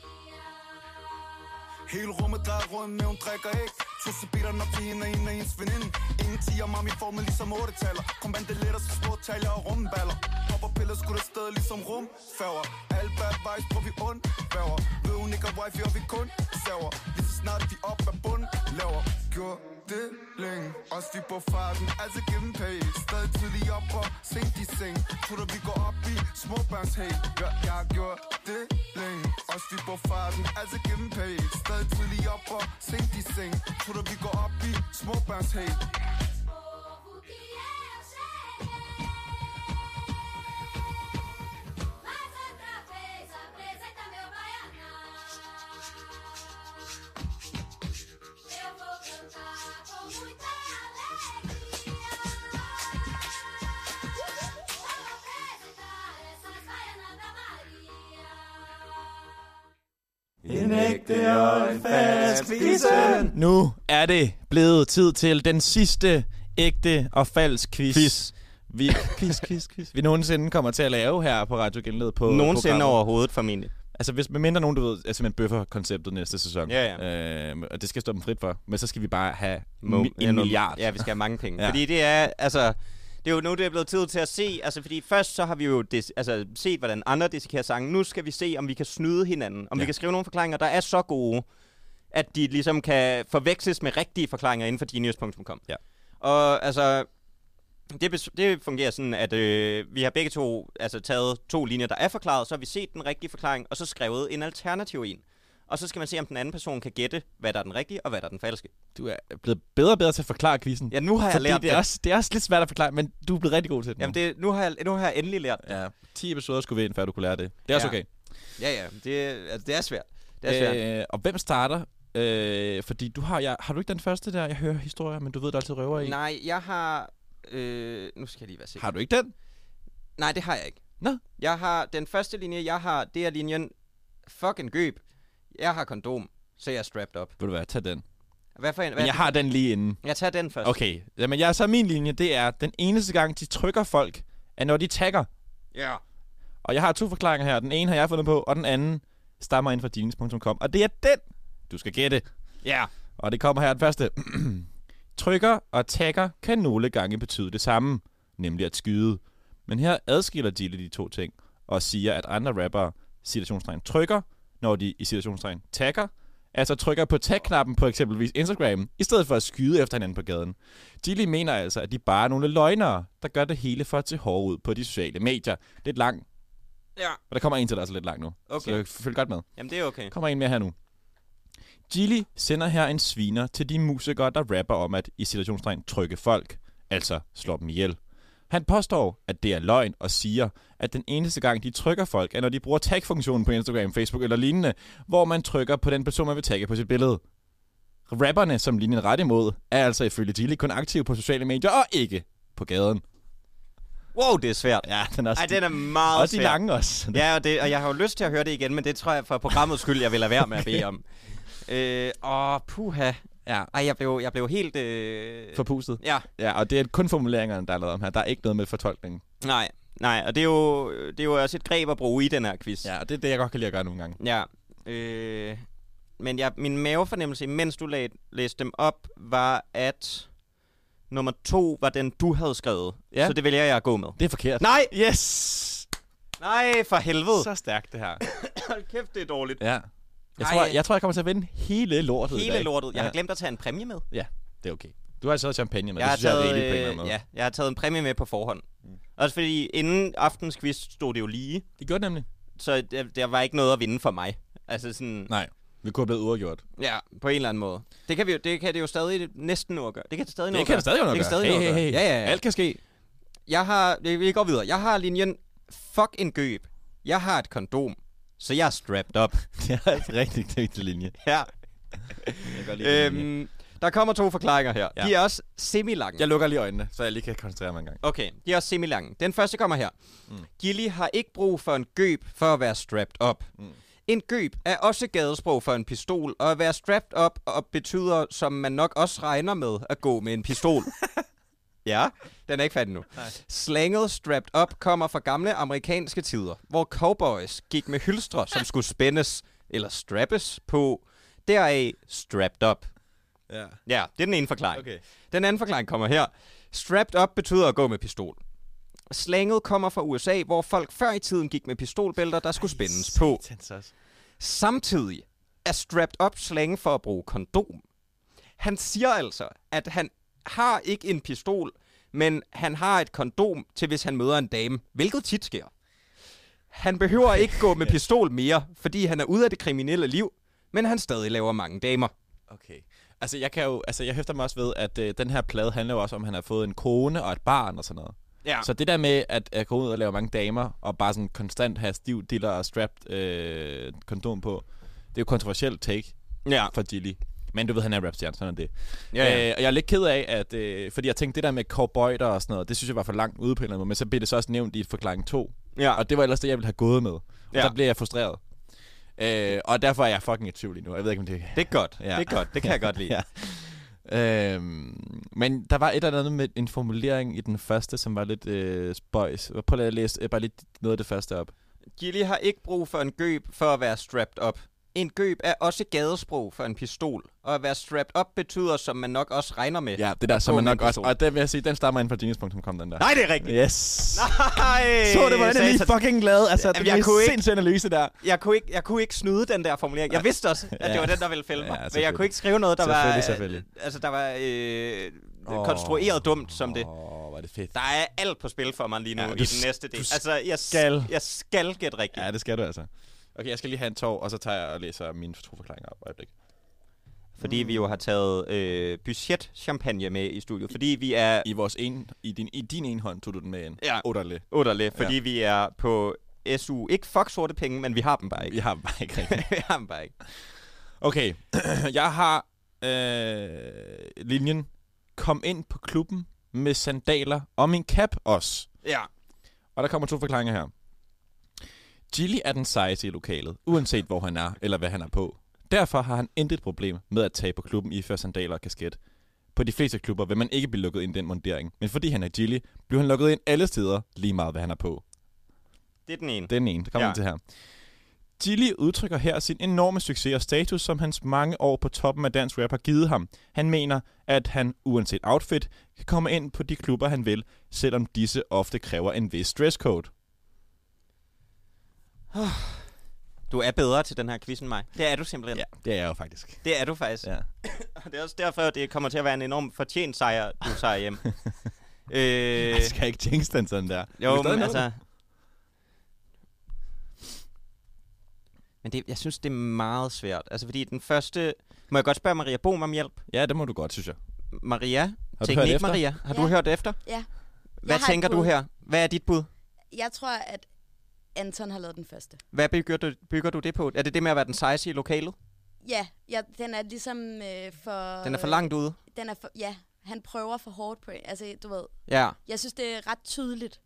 [SPEAKER 6] Hele rummet drejer rundt, men hun drikker ikke Tusse biler op til hende og en af hendes veninde Ingen tiger, mami får mig ligesom 8 taler Kom bandeletter, så store taler og rumballer Hopper piller skudt afsted ligesom rumfærger Alt bad vejs, prøver vi ondt bæver Ved hun ikke, at wifi og vi kun saver Lige så snart vi op af bund laver Gjorde det længe Også vi på farten, altså give dem pay Stadig tidlig op og sent i seng Tror du, vi går op i småbørnshæl Ja, jeg gjorde det længe Også vi på farten, altså give dem pay Stadig tidlig op og sent i seng Tror du, vi går op i småbørnshæl
[SPEAKER 9] Mas outra vez apresenta meu baianá. Eu vou cantar com muita alegria. Vou apresentar essas baianas da Maria.
[SPEAKER 4] En ægte og en fast quizzen. Nu er det blevet tid til den sidste ægte og falsk quiz.
[SPEAKER 5] Quiz.
[SPEAKER 4] Vi, quiz, quiz, quiz. Vi nogensinde kommer til at lave her på Radio Genled på
[SPEAKER 5] Nogensinde
[SPEAKER 4] programmet.
[SPEAKER 5] overhovedet, formentlig.
[SPEAKER 4] Altså, hvis med mindre nogen, du ved, er simpelthen bøffer konceptet næste sæson.
[SPEAKER 5] Ja,
[SPEAKER 4] Øh, og det skal stå dem frit for. Men så skal vi bare have
[SPEAKER 5] Mo-
[SPEAKER 4] mi-
[SPEAKER 5] ja,
[SPEAKER 4] en
[SPEAKER 5] noget-
[SPEAKER 4] milliard.
[SPEAKER 5] Ja, vi skal have mange penge.
[SPEAKER 4] Ja.
[SPEAKER 5] ja. Fordi det er, altså... Det er jo nu, det er blevet tid til at se, altså fordi først så har vi jo des, altså, set, hvordan andre dissekerer sangen. Nu skal vi se, om vi kan snyde hinanden, om ja.
[SPEAKER 4] Ja.
[SPEAKER 5] vi kan skrive nogle forklaringer, der er så gode, at de ligesom kan forveksles med rigtige forklaringer inden for genius.com.
[SPEAKER 4] Ja.
[SPEAKER 5] Og altså, det, bes- det fungerer sådan, at øh, vi har begge to altså, taget to linjer, der er forklaret, så har vi set den rigtige forklaring, og så skrevet en alternativ en. Og så skal man se, om den anden person kan gætte, hvad der er den rigtige, og hvad der er den falske.
[SPEAKER 4] Du er blevet bedre og bedre til at forklare quizzen.
[SPEAKER 5] Ja, nu har jeg
[SPEAKER 4] Fordi
[SPEAKER 5] lært
[SPEAKER 4] det. Er
[SPEAKER 5] det.
[SPEAKER 4] også, det er også lidt svært at forklare, men du er blevet rigtig god til det. nu.
[SPEAKER 5] Jamen, det, nu, har jeg, nu har jeg endelig lært det.
[SPEAKER 4] Ja, 10 episoder skulle vi ind, før du kunne lære det. Det er også
[SPEAKER 5] Ja.
[SPEAKER 4] okay.
[SPEAKER 5] Ja, ja. Det, altså, det er svært. Det er svært. Øh,
[SPEAKER 4] Øh, og hvem starter? Øh, fordi du har, jeg, har du ikke den første der, jeg hører historier, men du ved, der er altid røver i?
[SPEAKER 5] Nej, jeg har... Øh, nu skal jeg lige være sikker.
[SPEAKER 4] Har du ikke den?
[SPEAKER 5] Nej, det har jeg ikke.
[SPEAKER 4] Nå.
[SPEAKER 5] Jeg har... Den første linje, jeg har, det er linjen... Fucking gøb. Jeg har kondom, så jeg er strapped up.
[SPEAKER 4] Vil du være, tag den.
[SPEAKER 5] Hvad for en? Hvad
[SPEAKER 4] Men jeg har den lige inden.
[SPEAKER 5] jeg tager den først.
[SPEAKER 4] Okay, jamen jeg, så min linje, det er, den eneste gang, de trykker folk, er når de tagger.
[SPEAKER 5] Ja.
[SPEAKER 4] Og jeg har to forklaringer her. Den ene har jeg fundet på, og den anden stammer ind fra jeans.com. Og det er den, du skal gætte.
[SPEAKER 5] Ja.
[SPEAKER 4] Og det kommer her den første. Trykker og tagger kan nogle gange betyde det samme, nemlig at skyde. Men her adskiller Dille de to ting og siger, at andre rappere situationstegn trykker, når de i situationstegn tagger, altså trykker på tag-knappen på eksempelvis Instagram, i stedet for at skyde efter hinanden på gaden. Dille mener altså, at de bare er nogle løgnere, der gør det hele for at se hård ud på de sociale medier. Lidt lang.
[SPEAKER 5] Ja.
[SPEAKER 4] Og der kommer en til, der er så lidt lang nu.
[SPEAKER 5] Okay.
[SPEAKER 4] Så følg godt med.
[SPEAKER 5] Jamen, det er okay.
[SPEAKER 4] Kommer en mere her nu. Gilly sender her en sviner til de musikere, der rapper om at i situationstegn trykke folk, altså slå dem ihjel. Han påstår, at det er løgn og siger, at den eneste gang, de trykker folk, er når de bruger tag-funktionen på Instagram, Facebook eller lignende, hvor man trykker på den person, man vil tagge på sit billede. Rapperne, som linjen ret imod, er altså ifølge Gilly kun aktive på sociale medier og ikke på gaden.
[SPEAKER 5] Wow, det er svært.
[SPEAKER 4] Ja, den er også,
[SPEAKER 5] Ej, den er meget
[SPEAKER 4] også de
[SPEAKER 5] svær.
[SPEAKER 4] lange også.
[SPEAKER 5] Ja, og, det, og jeg har jo lyst til at høre det igen, men det tror jeg for programmets skyld, jeg vil lade være med at bede om. Øh, åh, puha.
[SPEAKER 4] Ja.
[SPEAKER 5] Ej, jeg blev, jeg blev helt... Øh...
[SPEAKER 4] Forpustet.
[SPEAKER 5] Ja,
[SPEAKER 4] Ja, og det er kun formuleringerne, der er lavet om her. Der er ikke noget med fortolkningen.
[SPEAKER 5] nej, nej. Og det er, jo, det er jo også et greb at bruge i den her quiz.
[SPEAKER 4] Ja, og det er det, jeg godt kan lide at gøre nogle gange.
[SPEAKER 5] ja. Øh, men jeg, min mavefornemmelse, mens du lag, læste dem op, var, at nummer to var den, du havde skrevet.
[SPEAKER 4] Ja.
[SPEAKER 5] Så det vælger jeg at gå med.
[SPEAKER 4] Det er forkert.
[SPEAKER 5] Nej!
[SPEAKER 4] Yes!
[SPEAKER 5] Nej, for helvede.
[SPEAKER 4] Så stærkt det her.
[SPEAKER 5] Hold kæft, det er dårligt.
[SPEAKER 4] Ja. Jeg
[SPEAKER 5] Ej.
[SPEAKER 4] tror, jeg, jeg tror, jeg kommer til at vinde hele lortet i
[SPEAKER 5] Hele
[SPEAKER 4] dag.
[SPEAKER 5] lortet. Jeg
[SPEAKER 4] ja.
[SPEAKER 5] har glemt at tage en præmie med.
[SPEAKER 4] Ja, det er okay. Du har altså taget champagne med.
[SPEAKER 5] jeg har
[SPEAKER 4] det synes jeg er rigtig
[SPEAKER 5] taget,
[SPEAKER 4] på en eller anden
[SPEAKER 5] øh,
[SPEAKER 4] måde.
[SPEAKER 5] ja, jeg har taget en præmie med på forhånd. Mm. Også fordi inden aftens quiz stod det jo lige,
[SPEAKER 4] Det gjorde det nemlig.
[SPEAKER 5] så der, der var ikke noget at vinde for mig. Altså sådan,
[SPEAKER 4] Nej. Vi kunne have blevet uafgjort.
[SPEAKER 5] ja, på en eller anden måde. Det kan, vi jo, det kan det jo stadig næsten nu at gøre. Det kan det stadig nu
[SPEAKER 4] Det
[SPEAKER 5] at
[SPEAKER 4] kan
[SPEAKER 5] gøre.
[SPEAKER 4] der stadig jo nok
[SPEAKER 5] det kan stadig
[SPEAKER 4] gøre.
[SPEAKER 5] nå at gøre. Ja, ja, ja.
[SPEAKER 4] Alt kan ske.
[SPEAKER 5] Jeg har, vi vi går videre. Jeg har linjen, fuck en gøb. Jeg har et kondom, så jeg er strapped up.
[SPEAKER 4] Det er en rigtig dygtig linje.
[SPEAKER 5] Ja.
[SPEAKER 4] Jeg, kan
[SPEAKER 5] Øhm, der kommer to forklaringer her.
[SPEAKER 4] Ja.
[SPEAKER 5] Ja. De er også semi-lange.
[SPEAKER 4] jeg lukker lige øjnene, så jeg lige kan koncentrere mig en gang.
[SPEAKER 5] Okay, de er også semi-lange. Den første kommer her. Mm. Gilly har ikke brug for en gøb for at være strapped up. Mm. En gøb er også gadesprog for en pistol, og at være strapped up og betyder, som man nok også regner med, at gå med en pistol. ja, den er ikke færdig nu. Slanget strapped up kommer fra gamle amerikanske tider, hvor cowboys gik med hylstre, som skulle spændes eller strappes på. deraf strapped up.
[SPEAKER 4] Ja.
[SPEAKER 5] Ja, det er den ene forklaring.
[SPEAKER 4] Okay.
[SPEAKER 5] Den anden forklaring kommer her. Strapped up betyder at gå med pistol. Slanget kommer fra USA, hvor folk før i tiden gik med pistolbælter, der skulle spændes på. Samtidig er strapped up slange for at bruge kondom. Han siger altså, at han har ikke en pistol, men han har et kondom til, hvis han møder en dame, hvilket tit sker. Han behøver ikke gå med pistol mere, fordi han er ude af det kriminelle liv, men han stadig laver mange damer.
[SPEAKER 4] Okay. Altså, jeg kan jo, altså, jeg hæfter mig også ved, at øh, den her plade handler jo også om, at han har fået en kone og et barn og sådan noget.
[SPEAKER 5] Ja.
[SPEAKER 4] Så det der med at, at gå ud og lave mange damer, og bare sådan konstant have stiv diller og strapped øh, kondom på, det er jo kontroversielt take
[SPEAKER 5] ja.
[SPEAKER 4] for Gilly. Men du ved, han er rapstjerne, sådan er det.
[SPEAKER 5] Ja, ja.
[SPEAKER 4] Øh, og jeg er lidt ked af, at, øh, fordi jeg tænkte, det der med cowboyter og sådan noget, det synes jeg var for langt ude på en eller anden måde, men så blev det så også nævnt i forklaring 2,
[SPEAKER 5] ja.
[SPEAKER 4] og det var ellers det, jeg ville have gået med. Og
[SPEAKER 5] Ja.
[SPEAKER 4] ja. der blev jeg frustreret. Øh, og derfor er jeg fucking i tvivl lige nu. Jeg ved ikke, om det
[SPEAKER 5] Det er godt. Ja.
[SPEAKER 4] Ja.
[SPEAKER 5] Det er godt. Det kan jeg godt lide.
[SPEAKER 4] Ja. Øhm, men der var et eller andet med en formulering i den første, som var lidt øh, spøjs. Prøv lige at læse øh, bare lidt noget af det første op.
[SPEAKER 5] Gilly har ikke brug for en gøb for at være strapped up. En gøb er også gadesprog for en pistol, og at være strapped up betyder, som man nok også regner med.
[SPEAKER 4] Ja, det der, som
[SPEAKER 5] På
[SPEAKER 4] man
[SPEAKER 5] min
[SPEAKER 4] nok også...
[SPEAKER 5] person.
[SPEAKER 4] Og den vil jeg sige, den stammer ind fra genius.com, den der.
[SPEAKER 5] Nej, det er rigtigt!
[SPEAKER 4] Yes!
[SPEAKER 5] Nej!
[SPEAKER 4] Så det, hvordan jeg
[SPEAKER 5] sagde
[SPEAKER 4] lige
[SPEAKER 5] jeg-
[SPEAKER 4] fucking glad. Altså, det
[SPEAKER 5] jeg
[SPEAKER 4] er en
[SPEAKER 5] kunne ikke-
[SPEAKER 4] sindssyg analyse der.
[SPEAKER 5] jeg, kunne ikke, jeg kunne ikke snyde den der formulering. Jeg vidste også, at det
[SPEAKER 4] Ja.
[SPEAKER 5] var den, der ville fælde
[SPEAKER 4] Ja,
[SPEAKER 5] mig. Men jeg
[SPEAKER 4] selvfølgelig.
[SPEAKER 5] kunne ikke skrive noget, der var,
[SPEAKER 4] Selvfølgelig, selvfølgelig.
[SPEAKER 5] Altså, der var øh, konstrueret dumt som det.
[SPEAKER 4] Åh, oh, var det fedt.
[SPEAKER 5] Der er alt på spil for mig lige nu
[SPEAKER 4] Ja, du
[SPEAKER 5] ja, i den
[SPEAKER 4] s-
[SPEAKER 5] næste del.
[SPEAKER 4] du s-
[SPEAKER 5] Altså, jeg
[SPEAKER 4] skal.
[SPEAKER 5] Jeg skal gætte rigtigt.
[SPEAKER 4] Ja, det skal du altså. Okay, jeg skal lige have en tår, og så tager jeg og læser mine to forklaringer op. Øjeblik.
[SPEAKER 5] Fordi vi jo har taget øh, budget-champagne med i studiet. Fordi vi er
[SPEAKER 4] I, vores en, i, din, I din ene hånd tog du den med ind.
[SPEAKER 5] Ja.
[SPEAKER 4] Otterle.
[SPEAKER 5] Utterligt, fordi ja. vi er på SU. Ikke fuck sorte penge, men vi har dem bare ikke.
[SPEAKER 4] Jeg har bare ikke rigtig.
[SPEAKER 5] vi har dem bare ikke.
[SPEAKER 4] Okay, jeg har øh, linjen. Kom ind på klubben med sandaler og min cap også.
[SPEAKER 5] Ja.
[SPEAKER 4] Og der kommer to forklaringer her. Gilly er den sejeste i lokalet, uanset hvor han er eller hvad han er på. Derfor har han intet problem med at tage på klubben i før sandaler og kasket. På de fleste klubber vil man ikke blive lukket ind i den mundering, men fordi han er Gilly, bliver han lukket ind alle steder, lige meget hvad han er på.
[SPEAKER 5] Det er den ene.
[SPEAKER 4] Det er den ene. Der kommer
[SPEAKER 5] Ja.
[SPEAKER 4] ja. til her. Gilly udtrykker her sin enorme succes og status, som hans mange år på toppen af dansk rap har givet ham. Han mener, at han, uanset outfit, kan komme ind på de klubber, han vil, selvom disse ofte kræver en vis dresscode.
[SPEAKER 5] Du er bedre til den her quiz end mig. Det er du simpelthen. Ja.
[SPEAKER 4] det er jeg jo faktisk.
[SPEAKER 5] Det er du faktisk. Ja.
[SPEAKER 4] Ja.
[SPEAKER 5] Og det er også derfor, at det kommer til at være en enorm fortjent sejr, du tager hjem. øh,
[SPEAKER 4] Jeg skal ikke jinx den sådan der. Vi
[SPEAKER 5] jo,
[SPEAKER 4] kan stadig
[SPEAKER 5] men
[SPEAKER 4] nå
[SPEAKER 5] altså... Men det, jeg synes, det er meget svært. Altså, fordi den første... Må jeg godt spørge Maria Bohm om hjælp?
[SPEAKER 4] den. Ja, det må du godt, synes jeg.
[SPEAKER 5] Maria?
[SPEAKER 4] hørt
[SPEAKER 5] Teknik
[SPEAKER 4] efter?
[SPEAKER 5] Maria? Har du
[SPEAKER 8] Ja.
[SPEAKER 5] hørt efter?
[SPEAKER 8] Ja.
[SPEAKER 5] Hvad
[SPEAKER 8] har et
[SPEAKER 5] tænker du
[SPEAKER 8] bud.
[SPEAKER 5] her? Hvad er dit bud?
[SPEAKER 8] Jeg tror, at Anton har lavet den første.
[SPEAKER 5] Hvad bygger du, bygger du det på? Er det det med at være den sejeste i lokalet?
[SPEAKER 8] Ja, ja den er ligesom øh, for...
[SPEAKER 5] Den er for langt ude.
[SPEAKER 8] Den er for, ja, han prøver for hårdt på en. Altså, du ved,
[SPEAKER 5] Ja.
[SPEAKER 8] jeg synes, det er ret tydeligt.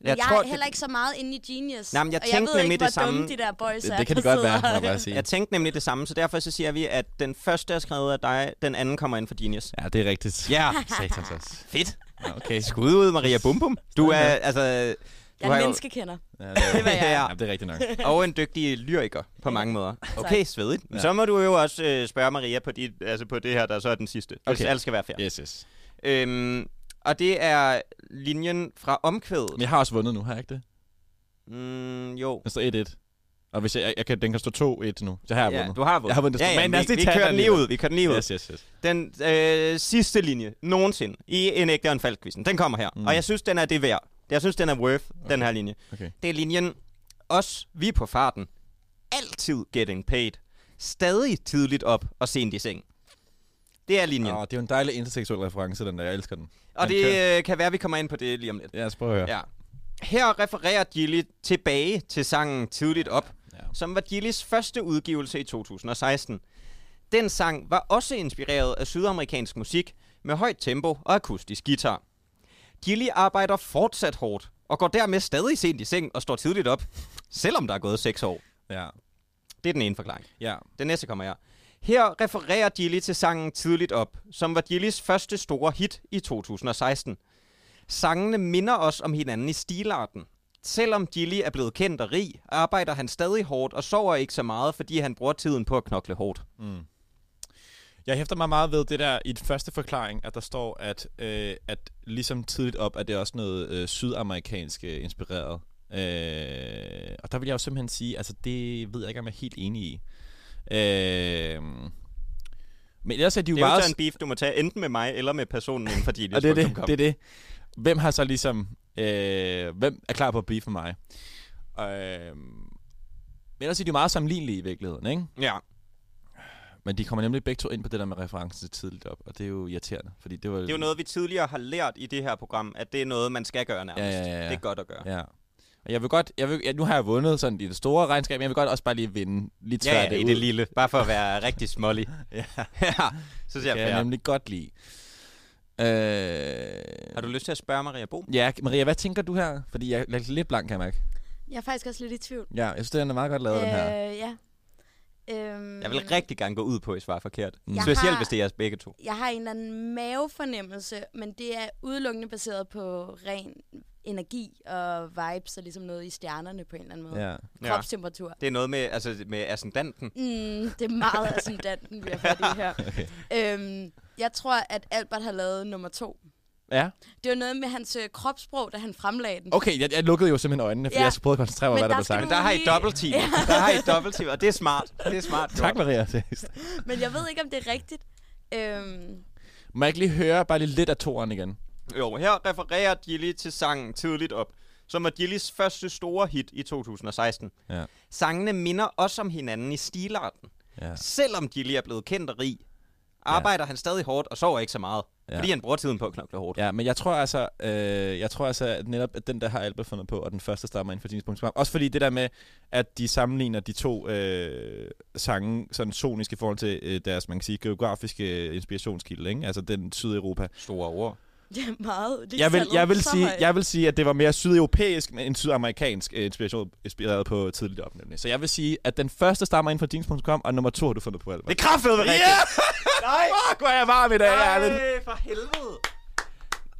[SPEAKER 8] Men
[SPEAKER 5] Jeg
[SPEAKER 8] jeg, jeg
[SPEAKER 5] tror,
[SPEAKER 8] er
[SPEAKER 5] det-
[SPEAKER 8] heller ikke så meget inde i Genius.
[SPEAKER 5] Nej, men jeg
[SPEAKER 8] og jeg
[SPEAKER 5] tænkte
[SPEAKER 8] ved
[SPEAKER 5] nemlig
[SPEAKER 8] ikke,
[SPEAKER 5] det
[SPEAKER 8] hvor dumme
[SPEAKER 5] samme.
[SPEAKER 8] de der boys er,
[SPEAKER 4] Det, det kan
[SPEAKER 8] der
[SPEAKER 4] det godt
[SPEAKER 8] sidder
[SPEAKER 4] være, må jeg
[SPEAKER 8] og-
[SPEAKER 4] bare sige.
[SPEAKER 5] Jeg tænkte nemlig det samme, så derfor så siger vi, at den første er skrevet af dig, den anden kommer ind for Genius.
[SPEAKER 4] Ja, det er rigtigt.
[SPEAKER 5] Ja,
[SPEAKER 4] Satans også.
[SPEAKER 5] fedt.
[SPEAKER 4] Ja, okay.
[SPEAKER 5] Skud ud, Maria Bum Bum. Du er, altså... Du
[SPEAKER 8] Jeg
[SPEAKER 5] har
[SPEAKER 8] er
[SPEAKER 5] jo-
[SPEAKER 8] en menneskekender.
[SPEAKER 4] Ja, det er,
[SPEAKER 8] Det var jeg.
[SPEAKER 5] Ja,
[SPEAKER 4] ja, det er rigtigt nok.
[SPEAKER 5] og en dygtig lyriker på mange måder. Okay, svedigt.
[SPEAKER 4] Ja.
[SPEAKER 5] Så må du jo også øh, spørge Maria på, dit, altså på det her, der så er den sidste. Hvis
[SPEAKER 4] Okay.
[SPEAKER 5] alt skal være fair.
[SPEAKER 4] Yes, yes.
[SPEAKER 5] Øhm, og det er linjen fra omkvædet.
[SPEAKER 4] Men jeg har også vundet nu, har jeg ikke det?
[SPEAKER 5] Mm, jo.
[SPEAKER 4] Den står 1-1. Og hvis jeg, jeg, jeg kan, den kan stå 2-1 nu. Så har jeg ja, vundet.
[SPEAKER 5] du har vundet.
[SPEAKER 4] Jeg har vundet.
[SPEAKER 5] Ja, ja,
[SPEAKER 4] Men lad os
[SPEAKER 5] vi,
[SPEAKER 4] lige
[SPEAKER 5] vi
[SPEAKER 4] tage
[SPEAKER 5] kører den
[SPEAKER 4] den
[SPEAKER 5] lige ud.
[SPEAKER 4] alligevel.
[SPEAKER 5] Vi kører den lige ud.
[SPEAKER 4] Yes, yes, yes.
[SPEAKER 5] Den øh, sidste linje nogensinde i en ægte og en falsk quizzen. Den kommer her. Mm.
[SPEAKER 4] Mm.
[SPEAKER 5] Og jeg synes, den er det værd. Jeg synes, den er worth, okay. den her linje.
[SPEAKER 4] Okay.
[SPEAKER 5] Det er linjen, os, vi er på farten. Altid getting paid. Stadig tidligt op og sent i seng. Det er linjen.
[SPEAKER 4] Åh, det er jo en dejlig interseksuel reference, den der. Jeg elsker den.
[SPEAKER 5] og
[SPEAKER 4] den
[SPEAKER 5] det
[SPEAKER 4] kører.
[SPEAKER 5] øh, kan være, at vi kommer ind på det lige om lidt.
[SPEAKER 4] Lad os prøve at høre.
[SPEAKER 5] Ja. Her refererer Gilly tilbage til sangen Tidligt Op, ja.
[SPEAKER 4] Ja.
[SPEAKER 5] som var Gillys første udgivelse i 2016. Den sang var også inspireret af sydamerikansk musik med højt tempo og akustisk guitar. Gilly arbejder fortsat hårdt og går dermed stadig sent i seng og står tidligt op, selvom der er gået 6 år.
[SPEAKER 4] Ja.
[SPEAKER 5] Det er den ene forklaring.
[SPEAKER 4] ja.
[SPEAKER 5] Den næste kommer her. Her refererer Gilly til sangen Tidligt Op, som var Gillys første store hit i 2016. Sangene minder os om hinanden i stilarten. Selvom Gilly er blevet kendt og rig, arbejder han stadig hårdt og sover ikke så meget, fordi han bruger tiden på at knokle hårdt.
[SPEAKER 4] Mm. Jeg hæfter mig meget ved det der i den første forklaring, at der står, at, øh, at ligesom tidligt op, at det er også noget øh, sydamerikansk øh, inspireret. Øh, og der vil jeg jo simpelthen sige, altså det ved jeg ikke, om jeg er helt enig i. Øh, men ellers er de jo
[SPEAKER 5] Det er jo
[SPEAKER 4] meget...
[SPEAKER 5] så en beef, du må tage enten med mig eller med personen inden for Gilly.
[SPEAKER 4] Og det er det, det er det. Hvem har så ligesom... Øh, hvem er klar på at blive for mig? Øh, men ellers er de jo meget sammenlignelige i virkeligheden, ikke?
[SPEAKER 5] Ja.
[SPEAKER 4] Men de kommer nemlig begge to ind på det der med referencen til tidligt op, og det er jo irriterende, fordi det var...
[SPEAKER 5] Det er jo noget, vi tidligere har lært i det her program, at det er noget, man skal gøre nærmest.
[SPEAKER 4] Ja, ja, ja, ja.
[SPEAKER 5] Det er godt at gøre.
[SPEAKER 4] Ja. Og jeg vil godt... Jeg vil, jeg, nu har jeg vundet sådan i det store regnskab, men jeg vil godt også bare lige vinde lidt
[SPEAKER 5] Ja,
[SPEAKER 4] svært
[SPEAKER 5] ja, i
[SPEAKER 4] ud.
[SPEAKER 5] det lille. Bare for at være rigtig smålig.
[SPEAKER 4] Ja.
[SPEAKER 5] ja, så ser jeg
[SPEAKER 4] kan jeg
[SPEAKER 5] fair.
[SPEAKER 4] nemlig godt lide. Øh...
[SPEAKER 5] Har du lyst til at spørge Maria Bo?
[SPEAKER 8] Mm.
[SPEAKER 4] Ja, Maria, hvad tænker du her? Fordi jeg jeg er lidt blank, kan jeg mærke.
[SPEAKER 8] Jeg er faktisk også lidt i tvivl.
[SPEAKER 4] Ja, jeg synes, den er meget godt lavet, øh... den her.
[SPEAKER 8] Øh, ja. Øhm,
[SPEAKER 5] Jeg vil rigtig gerne gå ud på, at I svarer forkert.
[SPEAKER 8] Jeg
[SPEAKER 5] Specielt,
[SPEAKER 8] har-
[SPEAKER 5] hvis det er jeres begge to.
[SPEAKER 8] Jeg har en eller anden mavefornemmelse, men det er udelukkende baseret på ren energi og vibes og ligesom noget i stjernerne på en eller anden måde.
[SPEAKER 4] Ja.
[SPEAKER 5] Ja.
[SPEAKER 8] Kropstemperatur.
[SPEAKER 5] Det er noget med, altså, med ascendanten.
[SPEAKER 8] Mm, det er meget ascendanten, vi har fat i her. øhm, jeg tror, at Albert har lavet nummer to.
[SPEAKER 4] Ja.
[SPEAKER 8] Det var noget med hans øh, kropssprog, da han fremlagde den.
[SPEAKER 4] Okay, jeg, jeg lukkede jo simpelthen øjnene, for ja.
[SPEAKER 8] Ja.
[SPEAKER 4] jeg prøvede at koncentrere mig,
[SPEAKER 8] Men
[SPEAKER 4] hvad der
[SPEAKER 8] der
[SPEAKER 4] blev
[SPEAKER 8] skal
[SPEAKER 4] sagt.
[SPEAKER 5] Men der har I dobbeltteam. Der har I dobbeltteam, og det er smart. Det er smart.
[SPEAKER 4] Tak,
[SPEAKER 5] gjort.
[SPEAKER 4] Maria. seriøst.
[SPEAKER 8] Men jeg ved ikke, om det er rigtigt. Øhm,
[SPEAKER 4] Må jeg ikke lige høre bare lige lidt af toren igen?
[SPEAKER 5] Jo, her refererer Gilly til sangen Tidligt Op, som var Gillys første store hit i 2016.
[SPEAKER 4] Ja.
[SPEAKER 5] Sangene minder også om hinanden i stilarten.
[SPEAKER 4] Ja.
[SPEAKER 5] Selvom Gilly er blevet kendt og rig, arbejder ja. han stadig hårdt og sover ikke så meget,
[SPEAKER 4] Ja.
[SPEAKER 5] ja. fordi han bruger tiden på at knokle hårdt.
[SPEAKER 4] Ja, men jeg tror altså, øh, jeg tror altså at netop, at den der har Alba fundet på, og den første stammer inden for din program. Også fordi det der med, at de sammenligner de to øh, sange sådan sonisk i forhold til øh, deres, man kan sige, geografiske øh, inspirationskilde, ikke? Altså den Sydeuropa.
[SPEAKER 5] Store ord.
[SPEAKER 8] det er meget. Det er
[SPEAKER 4] Jeg vil,
[SPEAKER 8] tallet
[SPEAKER 4] jeg, vil
[SPEAKER 8] så
[SPEAKER 4] sige,
[SPEAKER 8] højt.
[SPEAKER 4] jeg vil sige, at det var mere sydeuropæisk men end sydamerikansk øh, inspiration, inspireret på tidligt op, nemlig. Så jeg vil sige, at den første stammer inden for din.com, og nummer to har du fundet på, Alba.
[SPEAKER 5] Det er kraftedeme rigtigt! Yeah! Nej!
[SPEAKER 4] Fuck, hvor er jeg varm i dag, Erlend.
[SPEAKER 5] Nej, for helvede!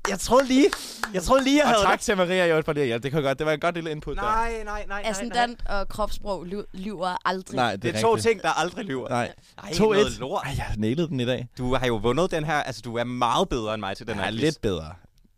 [SPEAKER 5] Jeg troede lige, jeg troede lige, jeg
[SPEAKER 4] Og
[SPEAKER 5] havde
[SPEAKER 4] tak til Maria Hjort for det. Ja, det kan godt. Det var et godt lille input der.
[SPEAKER 5] Nej, nej, nej, nej, nej.
[SPEAKER 8] Ascendant og kropssprog ly- lyver aldrig.
[SPEAKER 4] Nej, det,
[SPEAKER 5] Det er
[SPEAKER 4] rigtigt.
[SPEAKER 5] to ting, der aldrig lyver.
[SPEAKER 4] Nej.
[SPEAKER 5] Ej,
[SPEAKER 4] To
[SPEAKER 5] noget
[SPEAKER 4] et.
[SPEAKER 5] lort.
[SPEAKER 4] Ej, jeg har nailet den i dag.
[SPEAKER 5] Du har jo vundet den her, altså du er meget bedre end mig til den her
[SPEAKER 4] Jeg er
[SPEAKER 5] quiz.
[SPEAKER 4] lidt bedre.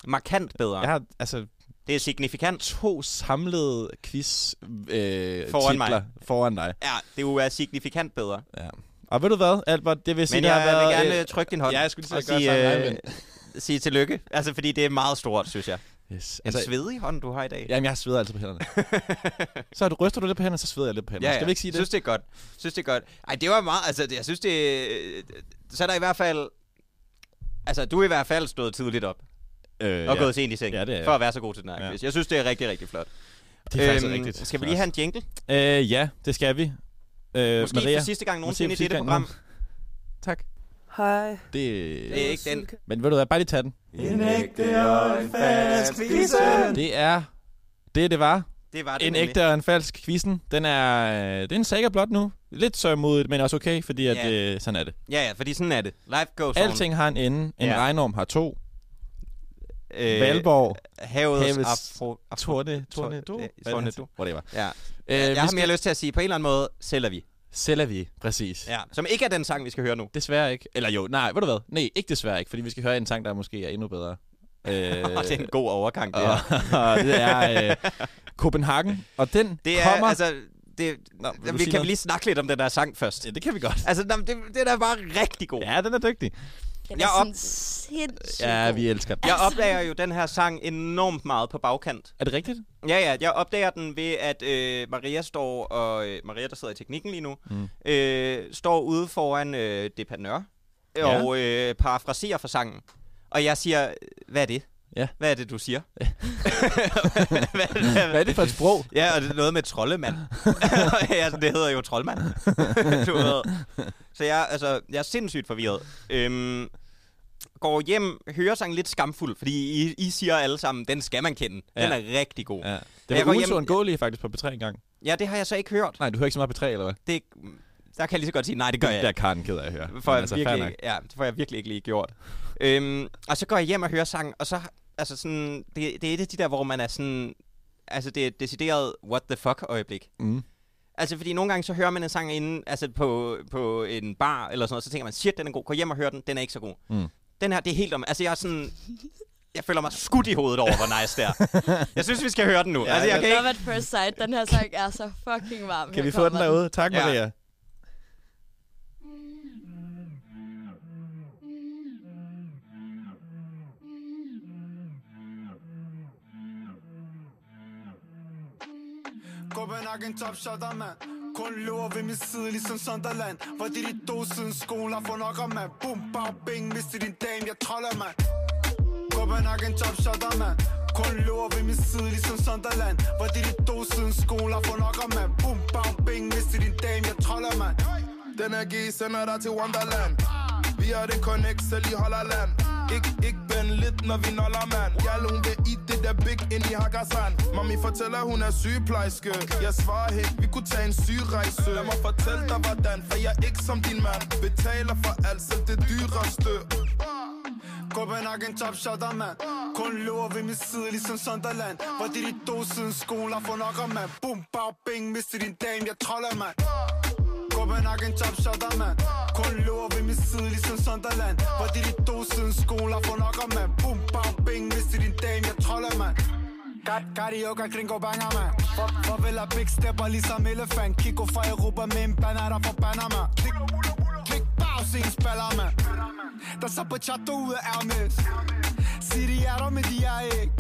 [SPEAKER 5] Markant bedre.
[SPEAKER 4] Jeg
[SPEAKER 5] Ja.
[SPEAKER 4] har altså
[SPEAKER 5] Det er signifikant.
[SPEAKER 4] to samlede quiz øh,
[SPEAKER 5] Foran mig.
[SPEAKER 4] titler foran dig.
[SPEAKER 5] Ja, det er jo er signifikant bedre.
[SPEAKER 4] Ja. Og ved du hvad, Albert, det vil sige,
[SPEAKER 5] Men
[SPEAKER 4] det
[SPEAKER 5] jeg
[SPEAKER 4] har været...
[SPEAKER 5] vil gerne øh, trykke din hånd.
[SPEAKER 4] ja, jeg skulle lige
[SPEAKER 5] og
[SPEAKER 4] til at gøre sammen med
[SPEAKER 5] sige, øh, sige tillykke. Altså, fordi det er meget stort, synes jeg. En
[SPEAKER 4] øh, yes.
[SPEAKER 5] altså,
[SPEAKER 4] altså,
[SPEAKER 5] svedig hånd, du har i dag.
[SPEAKER 4] Jamen, jeg sveder altid på hænderne. så du, ryster du lidt på hænderne, så sveder jeg lidt på hænderne. Skal vi ikke sige det?
[SPEAKER 5] Synes, det er godt. Synes, det er godt. Ej, det var meget... Altså, det- jeg synes, det... Så er der i hvert fald... Altså, du er i hvert fald stået tidligt op
[SPEAKER 4] øh,
[SPEAKER 5] og ja. gået sent i seng,
[SPEAKER 4] Ja, det er jeg.
[SPEAKER 5] for at være så god til den her
[SPEAKER 4] Ja.
[SPEAKER 5] quiz. Jeg synes, det er rigtig, rigtig flot. Øhm,
[SPEAKER 4] Det er faktisk rigtigt.
[SPEAKER 5] Skal vi lige have en jingle?
[SPEAKER 4] Øh, ja, det skal vi. Øh,
[SPEAKER 5] Måske
[SPEAKER 4] Maria,
[SPEAKER 5] for sidste
[SPEAKER 4] Måske
[SPEAKER 5] gang nogensinde i
[SPEAKER 4] for sidste
[SPEAKER 5] dette
[SPEAKER 4] gang
[SPEAKER 5] program.
[SPEAKER 4] tak.
[SPEAKER 10] Hej.
[SPEAKER 4] Det,
[SPEAKER 5] Det er ikke den.
[SPEAKER 4] Men ved du hvad, bare lige tage den.
[SPEAKER 11] En ægte og en fast kvise.
[SPEAKER 4] Det er det, det var.
[SPEAKER 5] Det var det
[SPEAKER 4] En
[SPEAKER 5] nemlig.
[SPEAKER 4] ægte og en falsk quizzen. Den er, øh, det er en saga blot nu. Lidt sørmodigt, men også okay, fordi at,
[SPEAKER 5] Ja.
[SPEAKER 4] øh, sådan er det.
[SPEAKER 5] Ja, ja, fordi sådan er det. Life goes on.
[SPEAKER 4] Alting har en ende. En
[SPEAKER 5] Ja.
[SPEAKER 4] ja. regnorm har to.
[SPEAKER 5] Øh,
[SPEAKER 4] Øh, Valborg.
[SPEAKER 5] Havets,
[SPEAKER 4] havets
[SPEAKER 5] afro... afro
[SPEAKER 4] Torne, torne, du.
[SPEAKER 5] Ja, øh, torne, du.
[SPEAKER 4] Whatever.
[SPEAKER 5] Ja.
[SPEAKER 4] Øh,
[SPEAKER 5] Jeg
[SPEAKER 4] vi
[SPEAKER 5] har
[SPEAKER 4] skal-
[SPEAKER 5] mere lyst til at sige, på en eller anden måde sælger vi.
[SPEAKER 4] Sælger vi, præcis.
[SPEAKER 5] Ja. Som ikke er den sang, vi skal høre nu.
[SPEAKER 4] Desværre ikke. Eller jo, nej, ved du hvad? Nej, ikke desværre ikke, fordi vi skal høre en sang, der måske er endnu bedre. Øh,
[SPEAKER 5] Øh. det er en god overgang, det
[SPEAKER 4] og,
[SPEAKER 5] her.
[SPEAKER 4] og det er øh, Copenhagen, og den
[SPEAKER 5] Det er,
[SPEAKER 4] kommer...
[SPEAKER 5] altså... Det, Nå,
[SPEAKER 4] vil du
[SPEAKER 5] vi
[SPEAKER 4] sige
[SPEAKER 5] kan
[SPEAKER 4] noget?
[SPEAKER 5] vi lige snakke lidt om den der sang først.
[SPEAKER 4] ja, det kan vi godt.
[SPEAKER 5] Altså, nå, men det, det er bare rigtig god.
[SPEAKER 4] Ja, den er dygtig.
[SPEAKER 8] Den
[SPEAKER 5] Jeg
[SPEAKER 8] er
[SPEAKER 5] er
[SPEAKER 8] sådan sindssygt
[SPEAKER 4] Ja,
[SPEAKER 8] god.
[SPEAKER 4] vi elsker den.
[SPEAKER 5] Jeg opdager jo den her sang enormt meget på bagkant.
[SPEAKER 4] Er det rigtigt?
[SPEAKER 5] Ja, ja, jeg opdager den ved, at øh, Maria står, og øh, Maria, der sidder i teknikken lige nu, mm. øh, står ude foran øh, det panør,
[SPEAKER 4] Ja.
[SPEAKER 5] og øh, parafraserer for sangen. Og jeg siger, hvad er det?
[SPEAKER 4] Ja.
[SPEAKER 5] Hvad er det, du siger? hvad, hvad, hvad,
[SPEAKER 4] Hvad er det for et sprog?
[SPEAKER 5] Ja, og det er noget med troldemand. ja, det hedder jo troldmand. du ved. Så jeg, altså, jeg er sindssygt forvirret. Øhm, går hjem, hører sangen lidt skamfuld, fordi I, I siger alle sammen, den skal man kende. Den
[SPEAKER 4] Ja.
[SPEAKER 5] er rigtig god.
[SPEAKER 4] Ja.
[SPEAKER 5] Jeg
[SPEAKER 4] Det
[SPEAKER 5] går
[SPEAKER 4] var
[SPEAKER 5] hjem-
[SPEAKER 4] uundgåelige faktisk på B3 engang.
[SPEAKER 5] Ja, det har jeg så ikke hørt.
[SPEAKER 4] Nej, du hører ikke så meget P3, eller hvad?
[SPEAKER 5] Det, der kan jeg lige så godt sige, nej, det gør jeg
[SPEAKER 4] Det er
[SPEAKER 5] ikke.
[SPEAKER 4] Karen ked af at høre.
[SPEAKER 5] For
[SPEAKER 4] Men altså,
[SPEAKER 5] jeg
[SPEAKER 4] fair nok.
[SPEAKER 5] virkelig, ikke- ja, det får jeg virkelig ikke lige gjort. øhm, og så går jeg hjem og hører sangen, og så... Altså sådan, det, det er et af de der, hvor man er sådan... altså det er et decideret what the fuck øjeblik.
[SPEAKER 4] Mm.
[SPEAKER 5] Altså, fordi nogle gange så hører man en sang inde altså på, på en bar eller sådan noget, så tænker man, shit, den er god, gå hjem og hør den, den er ikke så god.
[SPEAKER 4] Mm.
[SPEAKER 5] Den her, det er helt om, altså jeg er sådan, jeg føler mig skudt i hovedet over, hvor nice det er. Jeg synes, vi skal høre den nu. Ja, altså, jeg
[SPEAKER 8] Okay.
[SPEAKER 5] kan
[SPEAKER 8] Love
[SPEAKER 5] ikke...
[SPEAKER 8] at first sight. Den her sang er så fucking varm.
[SPEAKER 4] Kan
[SPEAKER 8] Her
[SPEAKER 4] vi få
[SPEAKER 8] kommer
[SPEAKER 4] den derude? Tak,
[SPEAKER 5] Ja.
[SPEAKER 4] Maria.
[SPEAKER 6] Copenhagen top shotter, mand Kun løber ved min side, ligesom Sunderland Hvor de de to siden skolen har fået nok af, mand Boom, bag, bing, mister din dame, jeg troller, mand Copenhagen top shotter, mand Kun løber ved min side, ligesom Sunderland Hvor de de to siden skolen har fået nok af, mand Boom, bag, bing, mister din dame, jeg troller, mand Den er G, sender dig til Wonderland Vi er det connect, selv i Holland ikke, ikke ben lidt, når vi noller, mand Jeg hun vil i det der big ind i Hakkasan Mami fortæller, hun er sygeplejerske Jeg svarer helt, vi kunne tage en sygerejse Lad mig fortælle dig, hvordan, for jeg er ikke som din mand Betaler for alt, selv det dyreste Copenhagen top shotter, mand Kun løber ved min side, ligesom Sunderland Hvor de de to siden skoler får nok af, mand Boom, bag, bing, mister din dame, jeg troller, mand Copenhagen top shotter, mand Kun løber ved min side, ligesom Sunderland Hvor de de to siden skoler får nok af, mand Boom, bag, bing, mister din dame, jeg troller, mand Kat, Carioca, gringo, banger, mand For, Farvel og big stepper, ligesom elefant Kiko fra Europa med en banana fra Panama Klik, klik, pause, en spiller, mand Der så på chatter ud af Hermes Sig de er der, men de er ikke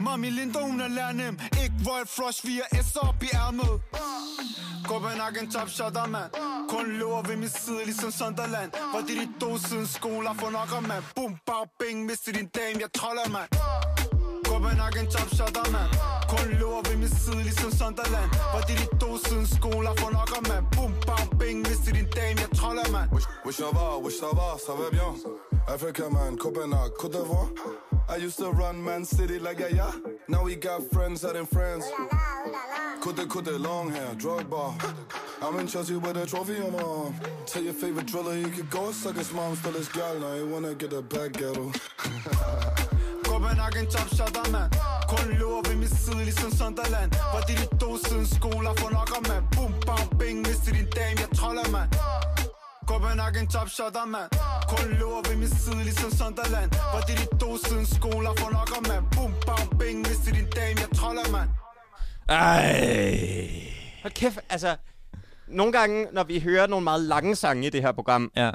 [SPEAKER 6] Mami Linda, hun er lærnem Ikke Royal Flush, vi er S op i ærmet Copenhagen top shotter, mand Kun løber ved min side, ligesom Sunderland Hvor de de to siden skoler får nok af, mand Boom, bag, bing, mister din dame, jeg troller, mand Copenhagen top shotter, mand Kun løber ved min side, ligesom Sunderland Hvor de de to siden skoler får nok af, mand Boom, bang, bing, mister din dame, jeg troller, mand
[SPEAKER 12] Wesh, wesh, ça va, wesh, ça va, ça va bien. Africa, man, Copenhague, Côte d'Ivoire. I used to run Man City like a yeah. Now we got friends out in France. Côte Côte, long hair, drug bar. I'm in Chelsea with a trophy on my arm. Tell your favorite driller he could go suck his mom. Still his gal, now he wanna get a back ghetto.
[SPEAKER 6] Copenhagen top shotter, mand Kun løber ved min side, ligesom Sunderland Hvor de de to siden skoler får nok af, mand Boom, bang, bing, mister din dame, jeg troller, mand Copenhagen top shotter, mand Kun løber ved min side, ligesom Sunderland Hvor de de to siden skoler får nok af, mand Boom, bang, bing, mister din dame, jeg troller, mand
[SPEAKER 4] Ej.
[SPEAKER 5] Hold kæft, altså... Nogle gange, når vi hører nogle meget lange sange i det her program,
[SPEAKER 4] Ja.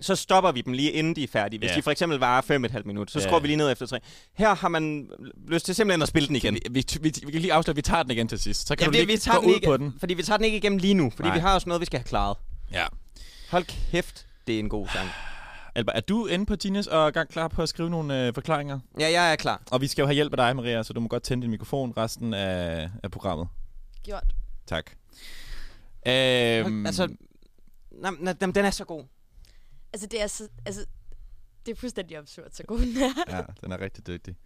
[SPEAKER 5] så stopper vi dem lige inden de er færdige. Hvis
[SPEAKER 4] Ja.
[SPEAKER 5] de for eksempel varer fem og et halvt minut, så
[SPEAKER 4] Ja.
[SPEAKER 5] skruer vi lige ned efter tre. Her har man lyst til simpelthen at spille den igen.
[SPEAKER 4] Vi, vi, vi, vi kan lige afsløre, at vi tager den igen til sidst. Så kan
[SPEAKER 5] Jamen,
[SPEAKER 4] du
[SPEAKER 5] det,
[SPEAKER 4] lige
[SPEAKER 5] vi tager
[SPEAKER 4] gå
[SPEAKER 5] den
[SPEAKER 4] ud
[SPEAKER 5] ikke,
[SPEAKER 4] på den.
[SPEAKER 5] Fordi vi tager den ikke igennem lige nu, fordi
[SPEAKER 4] Nej.
[SPEAKER 5] Nej. vi har også noget, vi skal have klaret.
[SPEAKER 4] Ja.
[SPEAKER 5] Hold kæft, det er en god sang.
[SPEAKER 4] Albert, er du inde på Dines og er gang klar på at skrive nogle øh, forklaringer?
[SPEAKER 5] Ja, jeg er klar.
[SPEAKER 4] Og vi skal jo have hjælp af dig, Maria, så du må godt tænde din mikrofon resten af, af programmet.
[SPEAKER 8] Gjort.
[SPEAKER 4] Tak.
[SPEAKER 5] Hold,
[SPEAKER 4] Øhm,
[SPEAKER 5] altså, nej, nej, den den er så god.
[SPEAKER 8] Altså, det er, så, altså, det er fuldstændig absurd, så god den er.
[SPEAKER 4] Ja, den er rigtig dygtig.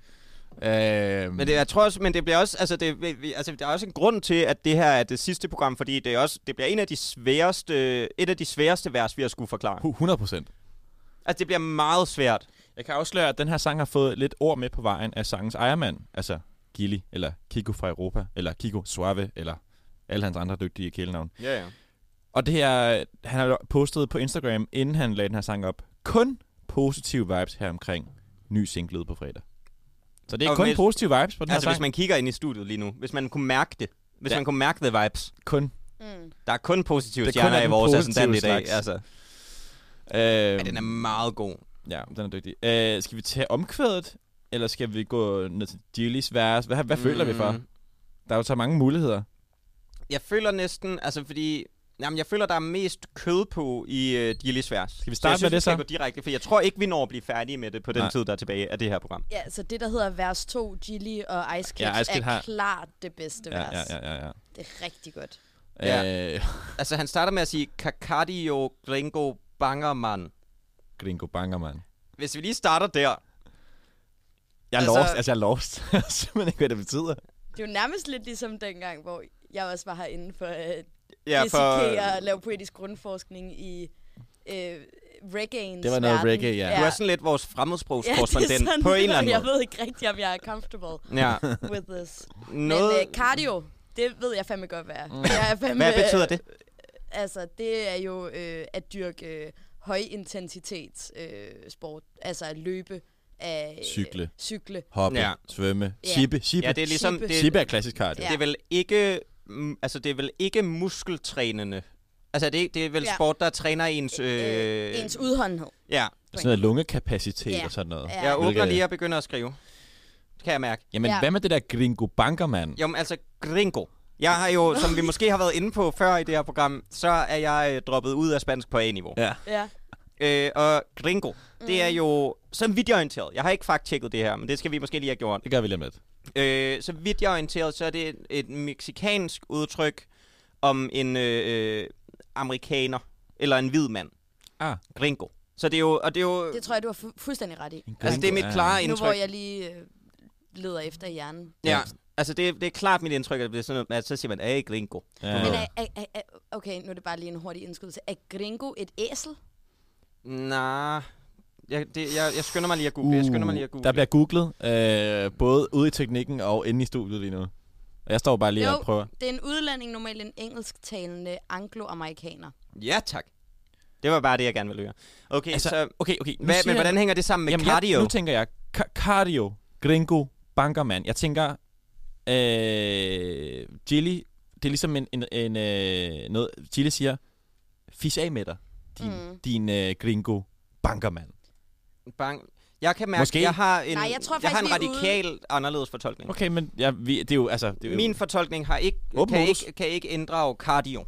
[SPEAKER 4] Øhm,
[SPEAKER 5] Men det, jeg tror også, men det bliver også, altså, det, vi- vi- altså, der er også en grund til, at det her er det sidste program, fordi det, er også, det bliver en af de sværeste, et af de sværeste vers, vi har skulle forklare.
[SPEAKER 4] 100 procent.
[SPEAKER 5] Altså, det bliver meget svært.
[SPEAKER 4] Jeg kan afsløre, at den her sang har fået lidt ord med på vejen af sangens ejermand, altså Gilly, eller Kiko fra Europa, eller Kiko Suave, eller alle hans andre dygtige kælenavn.
[SPEAKER 5] Ja, ja.
[SPEAKER 4] Og det her, han har postet på Instagram, inden han lagde den her sang op, kun positive vibes her omkring ny single ude på fredag. Så det er
[SPEAKER 5] Og
[SPEAKER 4] kun
[SPEAKER 5] hvis-
[SPEAKER 4] positive vibes på den
[SPEAKER 5] Altså,
[SPEAKER 4] her
[SPEAKER 5] hvis
[SPEAKER 4] sang.
[SPEAKER 5] man kigger ind i studiet lige nu, hvis man kunne mærke det, hvis ja. man kunne mærke the vibes,
[SPEAKER 4] Kun.
[SPEAKER 8] Mm.
[SPEAKER 5] der er kun positive
[SPEAKER 4] Det er kun
[SPEAKER 5] stjerner
[SPEAKER 4] af
[SPEAKER 5] i
[SPEAKER 4] den
[SPEAKER 5] vores
[SPEAKER 4] positive
[SPEAKER 5] ascendant i dag.
[SPEAKER 4] slags.
[SPEAKER 5] Altså,
[SPEAKER 4] Øhm,
[SPEAKER 5] men den er meget god.
[SPEAKER 4] Ja, den er dygtig. Øh, skal vi tage omkvædet, eller skal vi gå ned til Gillys vers? Hvad, hvad mm. føler vi for?
[SPEAKER 5] Mm.
[SPEAKER 4] Der er jo så mange muligheder.
[SPEAKER 5] Jeg føler næsten, altså fordi... Jamen, jeg føler, der er mest kød på i øh, Dillis vers. Skal
[SPEAKER 4] vi starte med det så?
[SPEAKER 5] Jeg synes, vi skal gå direkte, for jeg tror ikke, vi når at blive færdige med det på den
[SPEAKER 4] Nej.
[SPEAKER 5] Nej. tid, der er tilbage af det her program.
[SPEAKER 8] Ja, så det, der hedder vers 2, Gilly og Ice Kids,
[SPEAKER 4] Ja, Ice Kid
[SPEAKER 8] er
[SPEAKER 4] har-
[SPEAKER 8] klart det bedste
[SPEAKER 4] Ja,
[SPEAKER 8] vers.
[SPEAKER 4] ja, ja, ja. ja.
[SPEAKER 8] Det er rigtig godt.
[SPEAKER 4] ja.
[SPEAKER 5] Ja.
[SPEAKER 4] Øh,
[SPEAKER 5] Altså, han starter med at sige, Kakadio Gringo Bangerman.
[SPEAKER 4] Gringo Banger, mand.
[SPEAKER 5] Hvis vi lige starter der.
[SPEAKER 4] Jeg er altså...
[SPEAKER 5] Altså-
[SPEAKER 4] lost. Altså, jeg er lost. jeg ved simpelthen ikke, hvad det betyder.
[SPEAKER 8] Det er jo nærmest lidt ligesom dengang, hvor jeg også var herinde for øh, at
[SPEAKER 5] Ja,
[SPEAKER 8] dissekere og lave poetisk grundforskning i øh, reggaeens
[SPEAKER 4] Det var noget
[SPEAKER 8] verden.
[SPEAKER 4] reggae, ja.
[SPEAKER 5] Du er sådan lidt vores
[SPEAKER 8] det er
[SPEAKER 5] fremmedsprogskorrespondent
[SPEAKER 8] sådan,
[SPEAKER 5] på en eller anden
[SPEAKER 8] Jeg
[SPEAKER 5] måde.
[SPEAKER 8] ved ikke rigtig, om jeg er comfortable
[SPEAKER 5] Ja.
[SPEAKER 8] with this.
[SPEAKER 5] Noget,
[SPEAKER 8] Men øh, cardio, det ved jeg fandme godt, hvad er.
[SPEAKER 4] Mm.
[SPEAKER 8] Det er fandme,
[SPEAKER 5] hvad betyder det?
[SPEAKER 8] Altså, det er jo øh, at dyrke øh, højintensitets øh, sport. Altså at løbe af...
[SPEAKER 4] Cykle.
[SPEAKER 8] Cykle.
[SPEAKER 4] Hoppe,
[SPEAKER 5] Ja.
[SPEAKER 4] svømme,
[SPEAKER 8] Ja.
[SPEAKER 4] sippe, sippe.
[SPEAKER 5] Ja, det er ligesom... Det,
[SPEAKER 8] Sippe.
[SPEAKER 4] Sippe er klassisk cardio.
[SPEAKER 8] Ja.
[SPEAKER 5] det er vel ikke... mm, Altså, det er vel ikke muskeltrænende. Altså, er det, ikke- det er vel
[SPEAKER 8] Ja.
[SPEAKER 5] sport, der træner ens... Øh,
[SPEAKER 8] Øh, ens udholdenhed.
[SPEAKER 5] Ja.
[SPEAKER 4] Sådan noget lungekapacitet
[SPEAKER 8] Ja.
[SPEAKER 4] og sådan noget.
[SPEAKER 8] Ja.
[SPEAKER 5] Jeg åbner
[SPEAKER 4] Hvilket-
[SPEAKER 5] lige og begynder at skrive. Det kan jeg mærke.
[SPEAKER 4] Jamen,
[SPEAKER 8] Ja.
[SPEAKER 4] hvad med det der gringo banker, mand?
[SPEAKER 5] Jo, men altså, gringo. Jeg har jo, som vi måske har været inde på før i det her program, så er jeg øh, droppet ud af spansk på A-niveau.
[SPEAKER 4] Ja.
[SPEAKER 8] Ja.
[SPEAKER 5] Øh, og gringo, det er
[SPEAKER 8] Mm.
[SPEAKER 5] jo, som vidt jeg er orienteret, jeg har ikke fakttjekket det her, men det skal vi måske lige have gjort.
[SPEAKER 4] Det gør vi lige om lidt.
[SPEAKER 5] Øh, så vidt jeg er orienteret, så er det et, et meksikansk udtryk om en øh, øh, amerikaner, eller en hvid mand.
[SPEAKER 4] Ah.
[SPEAKER 5] Gringo. Så det er jo, og det er jo,
[SPEAKER 8] Det tror jeg, du har fu- fuldstændig ret i.
[SPEAKER 5] altså det er mit klare
[SPEAKER 8] Nu
[SPEAKER 5] indtryk.
[SPEAKER 8] hvor jeg lige øh, leder efter i hjernen.
[SPEAKER 5] Ja, altså det, er- det er klart mit indtryk, at det bliver sådan noget, at så siger man, hey, gringo.
[SPEAKER 4] Ja.
[SPEAKER 8] Men øh, er, er, er, er, okay, nu er det bare lige en hurtig indskydelse. Er gringo et æsel?
[SPEAKER 5] Nej, jeg, det, jeg, jeg skynder mig lige at google. jeg skynder mig lige at google.
[SPEAKER 4] Uh, Der bliver googlet, øh, både ude i teknikken og inde i studiet lige nu. Og jeg står bare lige
[SPEAKER 8] Jo.
[SPEAKER 4] og prøver.
[SPEAKER 8] Det er en udlænding, normalt en engelsktalende angloamerikaner.
[SPEAKER 5] Ja, tak. Det var bare det, jeg gerne ville høre. Okay, altså,
[SPEAKER 4] Altså,
[SPEAKER 5] så,
[SPEAKER 4] okay, okay. Nu
[SPEAKER 5] hvad,
[SPEAKER 4] siger
[SPEAKER 5] men hvordan hænger det sammen med
[SPEAKER 4] Jamen,
[SPEAKER 5] cardio?
[SPEAKER 4] Jeg, nu tænker jeg, ka- cardio, gringo, bankermand. Jeg tænker, øh, Jilly, det er ligesom en, en, en øh, noget, Jilly siger, fis af med dig, din,
[SPEAKER 8] Mm.
[SPEAKER 4] mm. din øh, gringo, bankermand.
[SPEAKER 5] Bang. Jeg kan mærke,
[SPEAKER 4] Måske.
[SPEAKER 5] jeg har en,
[SPEAKER 8] Nej, jeg tror
[SPEAKER 5] jeg har en
[SPEAKER 8] faktisk, vi er
[SPEAKER 5] radikal anderledes fortolkning.
[SPEAKER 4] Okay, men ja, vi, det er jo, altså, det er jo,
[SPEAKER 5] Min fortolkning har ikke,
[SPEAKER 4] Åben
[SPEAKER 5] kan,
[SPEAKER 4] modus.
[SPEAKER 5] ikke, kan ikke inddrage cardio.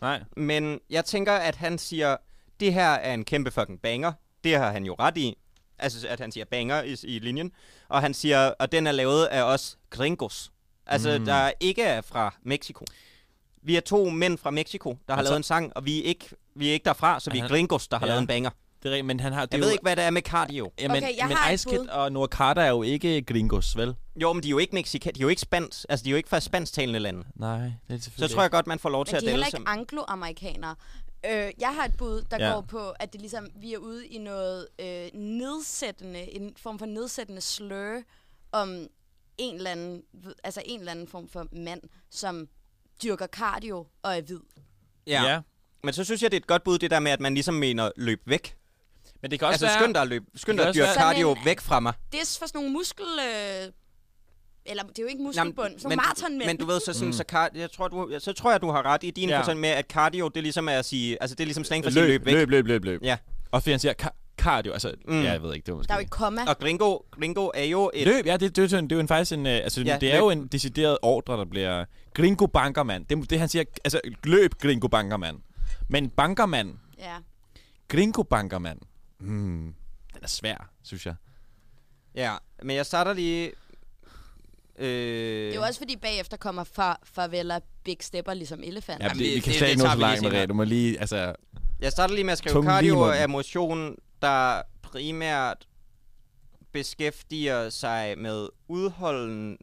[SPEAKER 4] nej.
[SPEAKER 5] Men jeg tænker, at han siger, det her er en kæmpe fucking banger. Det har han jo ret i. Altså, at han siger banger i, i linjen. Og han siger, og den er lavet af os gringos. Altså, mm. der ikke er fra Mexico. Vi er to mænd fra Mexico, der har
[SPEAKER 4] Altså-
[SPEAKER 5] lavet en sang, og vi er ikke, vi er ikke derfra, så vi er
[SPEAKER 4] Han-
[SPEAKER 5] gringos, der har
[SPEAKER 4] Ja.
[SPEAKER 5] lavet en banger.
[SPEAKER 4] Det er, rigtigt, men han har, det
[SPEAKER 5] Jeg
[SPEAKER 4] er
[SPEAKER 5] ved
[SPEAKER 4] jo,
[SPEAKER 5] ikke, hvad det er med cardio.
[SPEAKER 4] Jamen,
[SPEAKER 8] Okay, jeg
[SPEAKER 4] men
[SPEAKER 8] har et
[SPEAKER 4] Ice
[SPEAKER 8] bud.
[SPEAKER 4] Kid og Nordkarta er jo ikke gringos, vel?
[SPEAKER 5] Jo, men de er jo ikke Mexica, de er jo ikke spans, altså de er jo ikke fra spansktalende lande.
[SPEAKER 4] Nej, det er
[SPEAKER 5] Så
[SPEAKER 4] selvfølgelig
[SPEAKER 5] tror jeg godt, man får lov til
[SPEAKER 8] Men
[SPEAKER 5] at
[SPEAKER 8] de er
[SPEAKER 5] dele
[SPEAKER 8] heller
[SPEAKER 5] som...
[SPEAKER 8] ikke angloamerikanere. Øh, jeg har et bud, der
[SPEAKER 4] Ja.
[SPEAKER 8] ja. går på, at det ligesom, vi er ude i noget øh, nedsættende, en form for nedsættende slør om en eller, anden, altså en eller anden form for mand, som dyrker cardio og er hvid.
[SPEAKER 5] Ja. ja. Men så synes jeg, det er et godt bud, det der med, at man ligesom mener, løb væk.
[SPEAKER 4] Men det kan også
[SPEAKER 5] Altså,
[SPEAKER 4] være...
[SPEAKER 5] skynd dig at løbe. Skynd
[SPEAKER 4] Det
[SPEAKER 5] dig
[SPEAKER 4] kan
[SPEAKER 5] at
[SPEAKER 4] også
[SPEAKER 5] dyrke
[SPEAKER 4] være-
[SPEAKER 5] cardio
[SPEAKER 8] Sådan en-
[SPEAKER 5] væk fra mig.
[SPEAKER 8] Det er for sådan nogle muskel... Øh, eller det er jo ikke
[SPEAKER 5] Jamen,
[SPEAKER 8] muskelbund, sådan nogle maratonmænd.
[SPEAKER 5] men du ved, så, sådan, mm. så, car- jeg tror, du, så tror jeg, du har ret i din
[SPEAKER 4] Ja.
[SPEAKER 5] ja. forstand med, at cardio, det ligesom er at sige, altså det er ligesom slang for at sige, løb væk.
[SPEAKER 4] løb, løb, løb, løb.
[SPEAKER 5] Ja.
[SPEAKER 4] Og fordi han siger, ka- cardio, altså,
[SPEAKER 5] Mm.
[SPEAKER 4] mm. ja, jeg ved ikke, det var måske...
[SPEAKER 8] der er jo et komma.
[SPEAKER 5] Og gringo, gringo er jo et...
[SPEAKER 4] Løb, ja, det, det, er jo en- det er jo en, faktisk en, øh, altså,
[SPEAKER 5] Ja,
[SPEAKER 4] ja, det er
[SPEAKER 5] løb.
[SPEAKER 4] jo en decideret ordre, der bliver, gringo bankermand, det, det han siger, altså, løb, gringo bankermand. Men bankermand,
[SPEAKER 8] Ja.
[SPEAKER 4] gringo bankermand, hmm, den er svær, synes jeg.
[SPEAKER 5] Ja, men jeg starter lige... Øh...
[SPEAKER 8] Det er jo også fordi bagefter kommer far, farveler, big stepper, ligesom elefant.
[SPEAKER 4] Ja,
[SPEAKER 8] Ja.
[SPEAKER 4] Jamen,
[SPEAKER 5] det-
[SPEAKER 4] det, vi kan
[SPEAKER 5] det-
[SPEAKER 4] slet
[SPEAKER 5] det
[SPEAKER 4] ikke nå
[SPEAKER 5] tager
[SPEAKER 4] så
[SPEAKER 5] vi lige
[SPEAKER 4] langt med
[SPEAKER 5] senere.
[SPEAKER 4] det, du må lige, altså,
[SPEAKER 5] Jeg starter lige med at skrive,
[SPEAKER 4] Tungen lige i
[SPEAKER 5] cardio
[SPEAKER 4] munden.
[SPEAKER 5] er motion, der primært beskæftiger sig med udholden...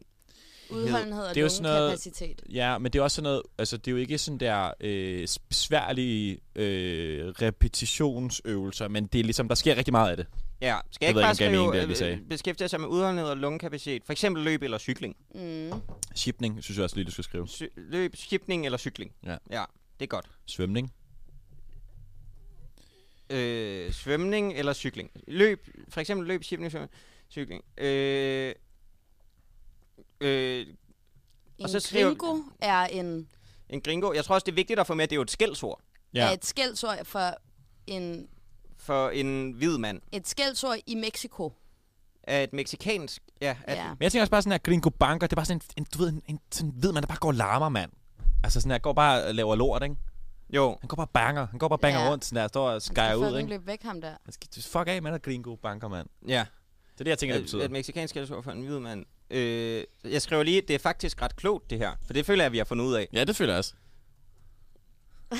[SPEAKER 8] Udholdenhed og
[SPEAKER 4] Det er jo sådan noget-
[SPEAKER 8] lungekapacitet.
[SPEAKER 4] Ja, men det er også sådan noget, altså det er jo ikke sådan der øh, besværlige øh, repetitionsøvelser, men det er ligesom, der sker rigtig meget af det.
[SPEAKER 5] Ja, skal jeg,
[SPEAKER 4] Jeg
[SPEAKER 5] ikke
[SPEAKER 4] ved
[SPEAKER 5] bare
[SPEAKER 4] ikke, om det gav mening, det jeg lige
[SPEAKER 5] skrive,
[SPEAKER 4] sagde.
[SPEAKER 5] øh, beskæftiger sig med udholdenhed og lungekapacitet? For eksempel løb eller cykling.
[SPEAKER 8] Mm.
[SPEAKER 4] Shipning, synes jeg også lige, du skal skrive.
[SPEAKER 5] Cy- løb, skipning eller cykling.
[SPEAKER 4] Ja.
[SPEAKER 5] ja det er godt.
[SPEAKER 4] Svømning.
[SPEAKER 5] Øh, svømning eller cykling. Løb, for eksempel løb, skipning, svømning, cykling. Øh, øh,
[SPEAKER 8] En
[SPEAKER 5] Og
[SPEAKER 8] og
[SPEAKER 5] så
[SPEAKER 8] så
[SPEAKER 5] skriver-
[SPEAKER 8] gringo er en
[SPEAKER 5] en gringo. Jeg tror også, det er vigtigt at få med, at det er jo et skældsord
[SPEAKER 8] ja. er et skældsord for en
[SPEAKER 5] for en hvid mand
[SPEAKER 8] et skældsord i Mexico.
[SPEAKER 5] af et meksikansk... Ja, at,
[SPEAKER 8] Ja.
[SPEAKER 4] Men jeg tænker også bare sådan her, gringo banker, det er bare sådan en, en du ved, en, en sådan, ved man, der bare går og larmer, mand. Altså sådan her, går bare og laver lort, ikke?
[SPEAKER 5] Jo,
[SPEAKER 4] Han går bare og banger, han går bare og banger
[SPEAKER 8] Ja.
[SPEAKER 4] rundt, sådan der, står og skærer ud,
[SPEAKER 8] ikke?
[SPEAKER 4] ikke?
[SPEAKER 8] løb væk ham der.
[SPEAKER 4] Han skal, fuck af med dig, gringo banker, mand.
[SPEAKER 5] ja.
[SPEAKER 4] Det er det, jeg tænker, det
[SPEAKER 5] Et,
[SPEAKER 4] betyder.
[SPEAKER 5] et meksikansk skældsord for en hvid mand. Øh, jeg skriver lige, det er faktisk ret klogt, det her. For det føler jeg, vi har fundet ud af.
[SPEAKER 4] Ja, det føler jeg også.
[SPEAKER 5] Det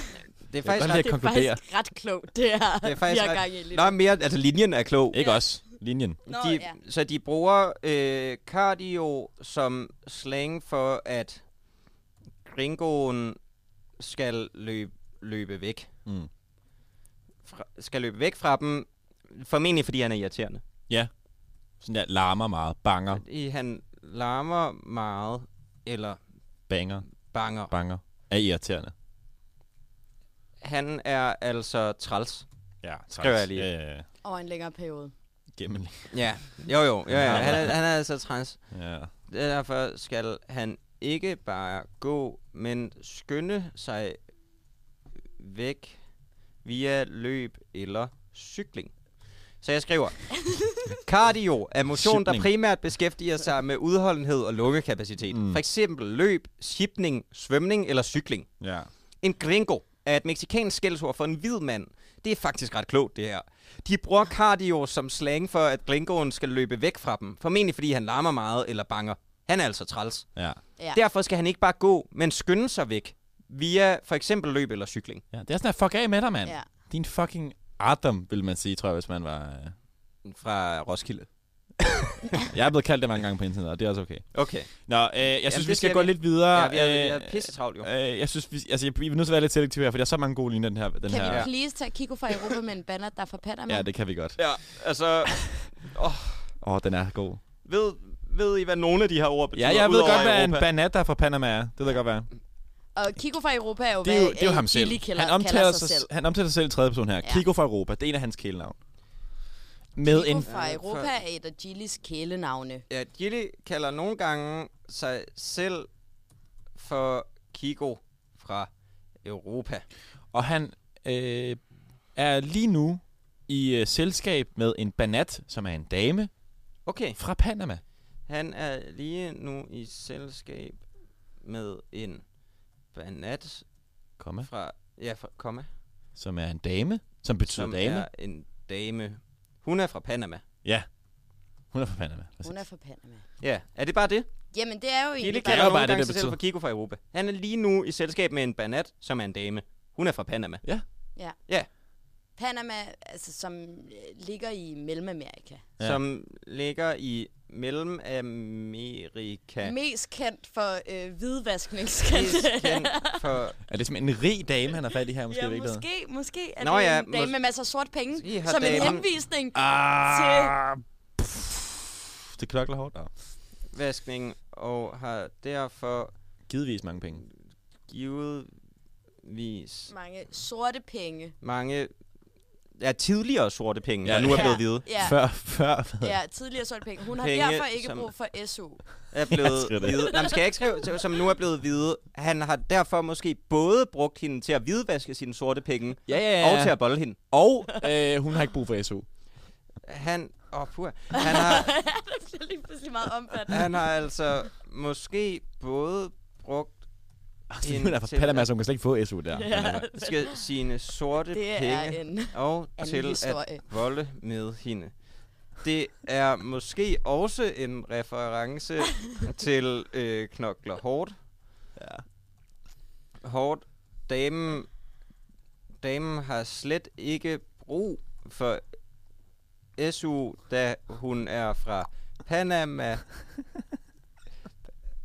[SPEAKER 5] er
[SPEAKER 4] Jeg
[SPEAKER 5] faktisk
[SPEAKER 4] kan
[SPEAKER 5] ret...
[SPEAKER 4] godt lide at konkludere.
[SPEAKER 8] faktisk ret klogt, det her.
[SPEAKER 5] Det er faktisk
[SPEAKER 8] vi har
[SPEAKER 5] ret-
[SPEAKER 8] gang i lige nu.
[SPEAKER 5] Nå, mere, altså linjen er klog.
[SPEAKER 4] Ikke
[SPEAKER 8] Ja.
[SPEAKER 4] os. Linjen.
[SPEAKER 8] Nå,
[SPEAKER 5] de,
[SPEAKER 8] ja.
[SPEAKER 5] Så de bruger øh, cardio som slang for, at gringoen skal løbe, løbe væk.
[SPEAKER 4] Mm.
[SPEAKER 5] fra, skal løbe væk fra dem, formentlig fordi han er irriterende.
[SPEAKER 4] Sådan der larmer meget, banger,
[SPEAKER 5] Fordi han larmer meget, eller
[SPEAKER 4] banger,
[SPEAKER 5] banger.
[SPEAKER 4] banger. Er irriterende.
[SPEAKER 5] Han er altså træls.
[SPEAKER 4] Ja, tak.
[SPEAKER 5] Skriver jeg lige.
[SPEAKER 4] Ja, ja, ja.
[SPEAKER 8] over en længere periode.
[SPEAKER 4] Gennem.
[SPEAKER 5] Ja, jo jo, jo, ja. Han, er, han er altså træls.
[SPEAKER 4] Ja.
[SPEAKER 5] Derfor skal han ikke bare gå, men skynde sig væk via løb eller cykling. Så jeg skriver, cardio er motion, der
[SPEAKER 4] Shipning.
[SPEAKER 5] primært beskæftiger sig med udholdenhed og lukkekapacitet. Mm. For eksempel løb, shipning, svømning eller cykling.
[SPEAKER 4] ja.
[SPEAKER 5] En gringo er et meksikansk skældsord for en hvid mand. Det er faktisk ret klogt, det her. De bruger cardio som slang for, at gringoen skal løbe væk fra dem. Formentlig fordi han larmer meget eller banger. Han er altså træls.
[SPEAKER 4] Ja.
[SPEAKER 8] Ja.
[SPEAKER 5] Derfor skal han ikke bare gå, men skynde sig væk. Via for eksempel løb eller cykling.
[SPEAKER 4] ja. Det er sådan der, fuck af med dig, mand.
[SPEAKER 8] Ja.
[SPEAKER 4] Din fucking Adam, vil man sige, tror jeg, hvis man var... øh.
[SPEAKER 5] Fra Roskilde.
[SPEAKER 4] Jeg er blevet kaldt det mange gange på internettet, og det er også okay.
[SPEAKER 5] Okay.
[SPEAKER 4] Nå, øh, jeg
[SPEAKER 5] det
[SPEAKER 4] synes, vi skal
[SPEAKER 5] siger
[SPEAKER 4] gå
[SPEAKER 5] vi.
[SPEAKER 4] lidt videre.
[SPEAKER 5] Ja, vi er, vi
[SPEAKER 4] Øh,
[SPEAKER 5] er pisse travlt, jo.
[SPEAKER 4] Øh, jeg synes, vi, altså, jeg, vi er nødt til at være lidt selektive her, for der er så mange gode linjer, den her. Den
[SPEAKER 8] Kan
[SPEAKER 4] her.
[SPEAKER 8] vi please tage Kiko fra Europa med en banner, der forpatter mig?
[SPEAKER 4] Ja, det kan vi godt.
[SPEAKER 5] Ja, altså...
[SPEAKER 4] Åh, oh, den er god.
[SPEAKER 5] Ved, ved I, hvad nogle af de her ord betyder?
[SPEAKER 4] Ja, jeg ved
[SPEAKER 5] udover
[SPEAKER 4] godt, hvad en
[SPEAKER 5] Europa?
[SPEAKER 4] banata fra Panama er. Det ved jeg godt, hvad er.
[SPEAKER 8] Og Kiko fra Europa er jo,
[SPEAKER 4] Det er jo,
[SPEAKER 8] hvad,
[SPEAKER 4] det er jo
[SPEAKER 8] øh,
[SPEAKER 4] ham selv.
[SPEAKER 8] Gilly kalder,
[SPEAKER 4] Han
[SPEAKER 8] han
[SPEAKER 4] omtaler,
[SPEAKER 8] kalder sig
[SPEAKER 4] sig,
[SPEAKER 8] selv.
[SPEAKER 4] han omtaler sig selv i tredje person her.
[SPEAKER 8] Ja.
[SPEAKER 4] Kiko fra Europa. Det er en af hans kælenavn. Med
[SPEAKER 8] Kiko
[SPEAKER 4] en...
[SPEAKER 8] fra Europa er et af Gillis kælenavne.
[SPEAKER 5] Ja, Gilly kalder nogle gange sig selv for Kiko fra Europa.
[SPEAKER 4] Og han øh, er lige nu i øh, selskab med en banat, som er en dame
[SPEAKER 5] Okay,
[SPEAKER 4] fra Panama.
[SPEAKER 5] han er lige nu i selskab med en banat
[SPEAKER 4] Komma.
[SPEAKER 5] fra, ja, fra komma,
[SPEAKER 4] Som er en dame, som betyder
[SPEAKER 5] som
[SPEAKER 4] dame.
[SPEAKER 5] er en dame. Hun er fra Panama.
[SPEAKER 4] Hun er fra Panama. præcis.
[SPEAKER 8] Hun er fra Panama.
[SPEAKER 5] Ja, er det bare det?
[SPEAKER 8] Jamen, det er jo
[SPEAKER 5] Gilly
[SPEAKER 8] egentlig
[SPEAKER 4] jo
[SPEAKER 5] kalder nogle
[SPEAKER 4] bare det,
[SPEAKER 5] gange
[SPEAKER 4] det
[SPEAKER 5] sig selv
[SPEAKER 4] betyder.
[SPEAKER 5] for Kiko fra Europa. Han er lige nu i selskab med en banat, som er en dame. Hun er fra Panama.
[SPEAKER 8] Panama, altså, som øh, ligger i Mellemamerika.
[SPEAKER 4] Ja.
[SPEAKER 5] Ja. Som ligger i Mellemamerika.
[SPEAKER 8] Mest kendt for øh,
[SPEAKER 5] Mest
[SPEAKER 8] hvidvaskningsskandalen.
[SPEAKER 5] kendt for
[SPEAKER 4] Er det simpelthen en rig dame, han har fat i her, måske
[SPEAKER 8] Ja,
[SPEAKER 4] i virkeligheden?
[SPEAKER 8] måske, måske er
[SPEAKER 5] Nå
[SPEAKER 8] Nå, det
[SPEAKER 5] ja,
[SPEAKER 8] en dame
[SPEAKER 5] mås-
[SPEAKER 8] med masser af sort penge,
[SPEAKER 5] Måske har
[SPEAKER 8] som en
[SPEAKER 5] damen-
[SPEAKER 8] henvisning til...
[SPEAKER 4] Ah, pff, det knokler hårdt. Ja.
[SPEAKER 5] vaskning og har derfor
[SPEAKER 4] Givetvis mange penge.
[SPEAKER 5] givetvis
[SPEAKER 8] Mange sorte penge.
[SPEAKER 5] mange ja, tidligere sorte penge,
[SPEAKER 4] Ja.
[SPEAKER 5] ja. der nu er blevet hvide,
[SPEAKER 8] Ja,
[SPEAKER 4] Før, før.
[SPEAKER 8] ja, tidligere sorte penge. Hun har
[SPEAKER 5] Penge,
[SPEAKER 8] derfor ikke
[SPEAKER 5] som-
[SPEAKER 8] brug for SU.
[SPEAKER 5] er
[SPEAKER 4] skriv
[SPEAKER 5] blevet
[SPEAKER 4] det.
[SPEAKER 5] hvide. Nå, men skal jeg ikke skrive, til- som nu er blevet hvide? Han har derfor måske både brugt hende til at hvidvaske sine sorte penge,
[SPEAKER 4] Ja, ja, ja.
[SPEAKER 5] og til at bolle hende.
[SPEAKER 4] Og øh, hun har ikke brug for SU.
[SPEAKER 5] Han, åh, pur, han har,
[SPEAKER 8] det bliver lige pludselig meget omfattende.
[SPEAKER 5] han har altså måske både brugt
[SPEAKER 4] Altså,
[SPEAKER 5] En
[SPEAKER 4] hun er fra
[SPEAKER 5] til-
[SPEAKER 4] Panama, så hun kan slet ikke få SU der.
[SPEAKER 8] Ja,
[SPEAKER 5] skal, sine sorte
[SPEAKER 8] det er
[SPEAKER 5] penge
[SPEAKER 8] en
[SPEAKER 5] og
[SPEAKER 8] anden
[SPEAKER 5] til at
[SPEAKER 8] historie.
[SPEAKER 5] volde med hende. Det er måske også en reference til øh, knokler hårdt. Ja. Hårdt. Damen, damen har slet ikke brug for SU, da hun er fra Panama.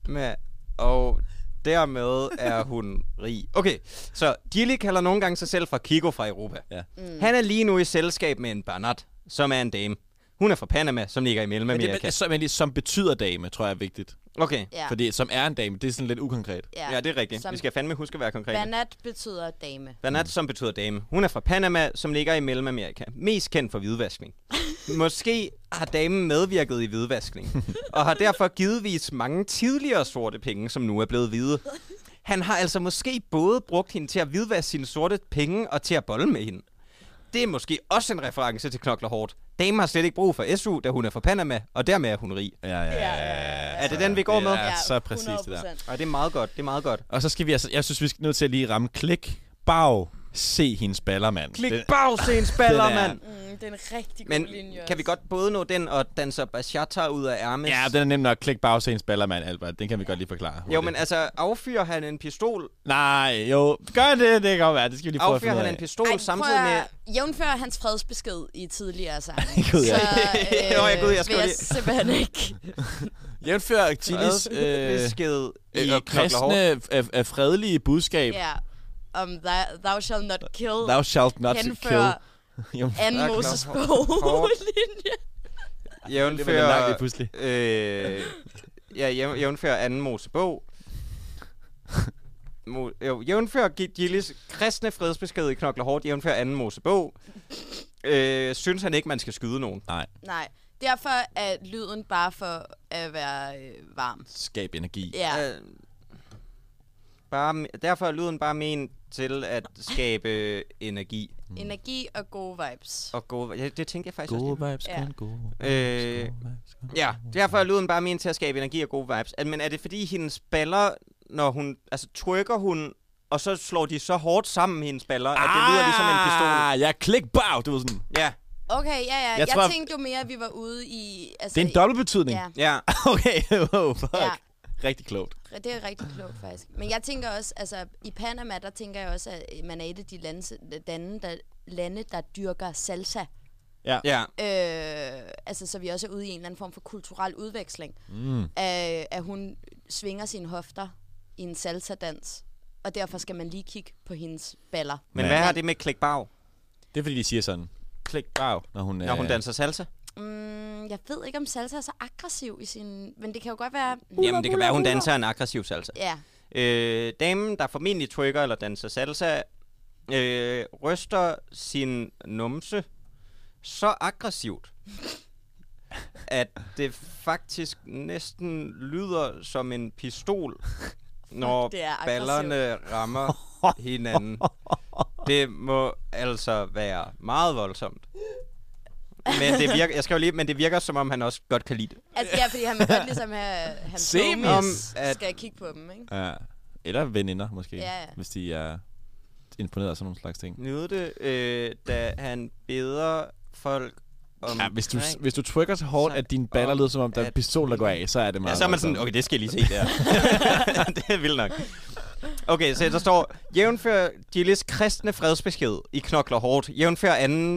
[SPEAKER 5] Med, og dermed er hun rig. Okay, så Gilly kalder nogle gange sig selv for Kiko fra Europa.
[SPEAKER 8] Mm.
[SPEAKER 5] Han er lige nu i selskab med en Barnard, som er en dame. Hun er fra Panama, som ligger i
[SPEAKER 4] Men det,
[SPEAKER 5] Mellemamerika.
[SPEAKER 4] men, som, men det, som betyder dame, tror jeg er vigtigt.
[SPEAKER 5] Okay.
[SPEAKER 8] Ja,
[SPEAKER 4] Fordi som er en dame, det er sådan lidt ukonkret.
[SPEAKER 8] ja.
[SPEAKER 5] Ja, det er rigtigt.
[SPEAKER 8] Som-
[SPEAKER 5] Vi skal fandme huske at være konkrete.
[SPEAKER 8] Banat betyder dame.
[SPEAKER 5] Banat, som betyder dame. Hun er fra Panama, som ligger i Mellemamerika. Mest kendt for hvidvaskning. Måske har damen medvirket i hvidvaskning, og har derfor givetvis mange tidligere sorte penge, som nu er blevet hvide. Han har altså måske både brugt hende til at hvidvaske sine sorte penge og til at bolle med hende. Det er måske også en reference til Knokler Hårdt. Damen har slet ikke brug for SU, da hun er fra Panama, og dermed er hun rig.
[SPEAKER 4] Ja, ja,
[SPEAKER 5] Er det den, vi går med?
[SPEAKER 4] Ja, så præcis det der.
[SPEAKER 8] 100%.
[SPEAKER 5] Og det er meget godt, det er meget godt.
[SPEAKER 4] Og så skal vi altså, jeg synes, vi skal nødt til at lige ramme klik, bag, se hendes baller, mand.
[SPEAKER 5] Klik
[SPEAKER 4] Det-
[SPEAKER 5] bagsens baller,
[SPEAKER 4] den er-
[SPEAKER 5] mand!
[SPEAKER 8] Mm, det er en rigtig god
[SPEAKER 5] Men
[SPEAKER 8] linje.
[SPEAKER 5] kan vi
[SPEAKER 8] også.
[SPEAKER 5] godt både nå den og danser bachata ud af ærmet?
[SPEAKER 4] Ja, den er nem nok. Klik bag, se hendes baller, mand, Albert. Den kan vi godt lige forklare.
[SPEAKER 5] Jo, men altså, affyrer han en pistol?
[SPEAKER 4] Nej, jo. Gør det, det kan godt være. Det skal vi lige prøve
[SPEAKER 5] Affyrer
[SPEAKER 4] at
[SPEAKER 5] han
[SPEAKER 4] finde
[SPEAKER 5] en
[SPEAKER 4] ud af.
[SPEAKER 5] pistol Ej, samtidig
[SPEAKER 8] prøv
[SPEAKER 5] med...
[SPEAKER 8] at- Jævnfør hans fredsbesked i tidligere sange.
[SPEAKER 4] Gud, ja.
[SPEAKER 5] Nå, ja, gud, jeg
[SPEAKER 8] vil
[SPEAKER 5] skulle
[SPEAKER 8] jeg
[SPEAKER 5] lige-
[SPEAKER 8] simpelthen ikke.
[SPEAKER 4] Jævnfør Chilis øh,
[SPEAKER 5] Besked i
[SPEAKER 4] øh,
[SPEAKER 5] Knokler Hårdt.
[SPEAKER 4] kristne, øh, øh, fredelige budskab.
[SPEAKER 8] Ja. om thou, thou shall not kill
[SPEAKER 4] Thou shalt not kill.
[SPEAKER 8] henfører
[SPEAKER 4] Jamen,
[SPEAKER 8] anden
[SPEAKER 5] Knock,
[SPEAKER 8] Moses
[SPEAKER 5] knock,
[SPEAKER 8] bog
[SPEAKER 5] hårdt.
[SPEAKER 8] linje.
[SPEAKER 4] det var da langt lige
[SPEAKER 5] Jævnfører...
[SPEAKER 4] pludselig.
[SPEAKER 5] Øh, ja, jæv- jævnfører anden Mosebog. Mo- jo, jævnfører Gi- Gilles kristne fredsbesked i Knokler Hårdt, jævnfører anden Mosebog. Øh, synes han ikke, man skal skyde nogen.
[SPEAKER 8] Nej, derfor er lyden bare for at være øh, varm.
[SPEAKER 4] Skab energi.
[SPEAKER 8] Ja,
[SPEAKER 5] Øh, bare, me- derfor er lyden bare ment til at skabe energi.
[SPEAKER 8] energi og gode vibes.
[SPEAKER 5] Og gode, ja, det tænkte jeg faktisk også.
[SPEAKER 4] Gode
[SPEAKER 5] lige på.
[SPEAKER 4] vibes
[SPEAKER 8] Ja.
[SPEAKER 4] kan gå.
[SPEAKER 5] Øh, Ja, derfor er lyden bare ment til at skabe energi og gode vibes. Al- Men er det fordi hendes baller, når hun... Altså, trykker hun, og så slår de så hårdt sammen hendes baller, at det lyder ligesom en pistol.
[SPEAKER 4] Ah, jeg klikbag, du var sådan.
[SPEAKER 5] Ja,
[SPEAKER 8] Okay, ja, ja. Jeg,
[SPEAKER 4] Jeg
[SPEAKER 8] jeg
[SPEAKER 4] tror-
[SPEAKER 8] tænkte jo mere, at vi var ude i... Altså,
[SPEAKER 4] Det er en dobbelt betydning.
[SPEAKER 8] Ja,
[SPEAKER 5] ja.
[SPEAKER 4] Okay, oh, fuck.
[SPEAKER 8] ja.
[SPEAKER 4] Rigtig klogt.
[SPEAKER 8] Det er rigtig klogt, faktisk. Men jeg tænker også, altså i Panama, der tænker jeg også, at man er et af de lande, lande, der, lande, der dyrker salsa.
[SPEAKER 5] Ja,
[SPEAKER 8] Øh, altså, så vi også er ude i en eller anden form for kulturel udveksling. Mm. At, at hun svinger sine hofter i en salsa-dans. Og derfor skal man lige kigge på hendes baller.
[SPEAKER 5] men
[SPEAKER 4] Ja.
[SPEAKER 5] hvad har det med klikbag,
[SPEAKER 4] Det er fordi, de siger sådan. Klikbag, når hun, øh,
[SPEAKER 5] når hun danser salsa?
[SPEAKER 8] Mm, jeg ved ikke, om salsa er så aggressiv i sin... Men det kan jo godt være...
[SPEAKER 5] Jamen, det kan være, hun danser en aggressiv salsa.
[SPEAKER 8] Ja,
[SPEAKER 5] Øh, damen, der formentlig trykker eller danser salsa, øh, ryster sin numse så aggressivt, at det faktisk næsten lyder som en pistol, når
[SPEAKER 8] det er aggressivt.
[SPEAKER 5] ballerne rammer hinanden. Det må altså være meget voldsomt. Men det virker, jeg skrev lige, men det virker som om han også godt kan lide det.
[SPEAKER 8] altså, ja fordi han vil godt ligesom have... Han
[SPEAKER 4] Se
[SPEAKER 8] homies
[SPEAKER 5] mig. Om at-
[SPEAKER 8] skal kigge på dem, ikke?
[SPEAKER 4] Ja. Eller veninder, måske.
[SPEAKER 8] Ja, ja.
[SPEAKER 4] Hvis de er imponeret af sådan nogle slags ting.
[SPEAKER 5] Nyde det, øh, da han beder folk om...
[SPEAKER 4] Ja, hvis du,
[SPEAKER 5] drink.
[SPEAKER 4] hvis du trykker så hårdt,
[SPEAKER 5] Så-
[SPEAKER 4] at dine baller lyder, som om der er en
[SPEAKER 5] at-
[SPEAKER 4] pistol, der går af, så er det meget
[SPEAKER 5] Ja, så er man sådan,
[SPEAKER 4] voldsomt.
[SPEAKER 5] okay, det skal jeg lige se der. det er vildt nok. Okay, så der står, jævnfør Gilles kristne fredsbesked i Knokler Hårdt, jævnfør anden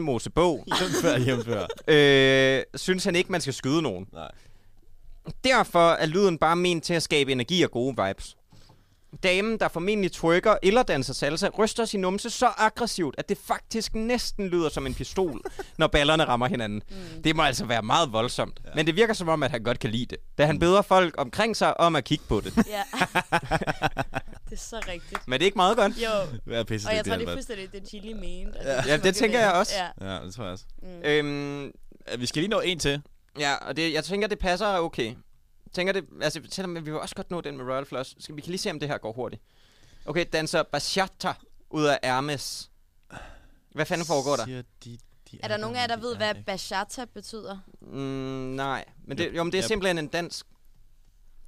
[SPEAKER 5] Mosebog,
[SPEAKER 4] Jævnfør, jævnfør.
[SPEAKER 5] øh, synes han ikke, man skal skyde nogen.
[SPEAKER 4] Nej.
[SPEAKER 5] Derfor er lyden bare ment til at skabe energi og gode vibes. Damen, der formentlig trykker eller danser salsa, ryster sin numse så aggressivt, at det faktisk næsten lyder som en pistol, når ballerne rammer hinanden. Mm. Det må altså være meget voldsomt. Ja. Mm. Men det virker som om, at han godt kan lide det. Da han beder folk omkring sig om at kigge på det.
[SPEAKER 8] Ja. det er så rigtigt.
[SPEAKER 5] Men det er ikke meget godt.
[SPEAKER 8] Jo,
[SPEAKER 4] Hvad er pisse,
[SPEAKER 8] og jeg
[SPEAKER 4] det,
[SPEAKER 8] tror, det er
[SPEAKER 4] Albert?
[SPEAKER 8] fuldstændig det, ligesom Chili mente. og
[SPEAKER 5] Ja, det tænker jeg også.
[SPEAKER 8] Ja. mm.
[SPEAKER 4] Ja, det tror jeg også.
[SPEAKER 5] Øhm,
[SPEAKER 4] Ja, Vi skal lige nå en til.
[SPEAKER 5] ja, og det, jeg tænker, det passer okay. Tænker det, altså, selvom vi vil også godt nå den med Royal Flush. Skal, vi kan lige se, om det her går hurtigt. Okay, danser bachata ud af Hermes. Hvad fanden foregår der?
[SPEAKER 4] Siger de, de
[SPEAKER 8] Er der nogen af jer, der
[SPEAKER 4] men
[SPEAKER 8] ved,
[SPEAKER 4] de
[SPEAKER 8] hvad
[SPEAKER 4] er ikke.
[SPEAKER 8] bachata betyder?
[SPEAKER 5] Mm, nej, men det, jo, men det er
[SPEAKER 4] Yep.
[SPEAKER 5] simpelthen en dansk...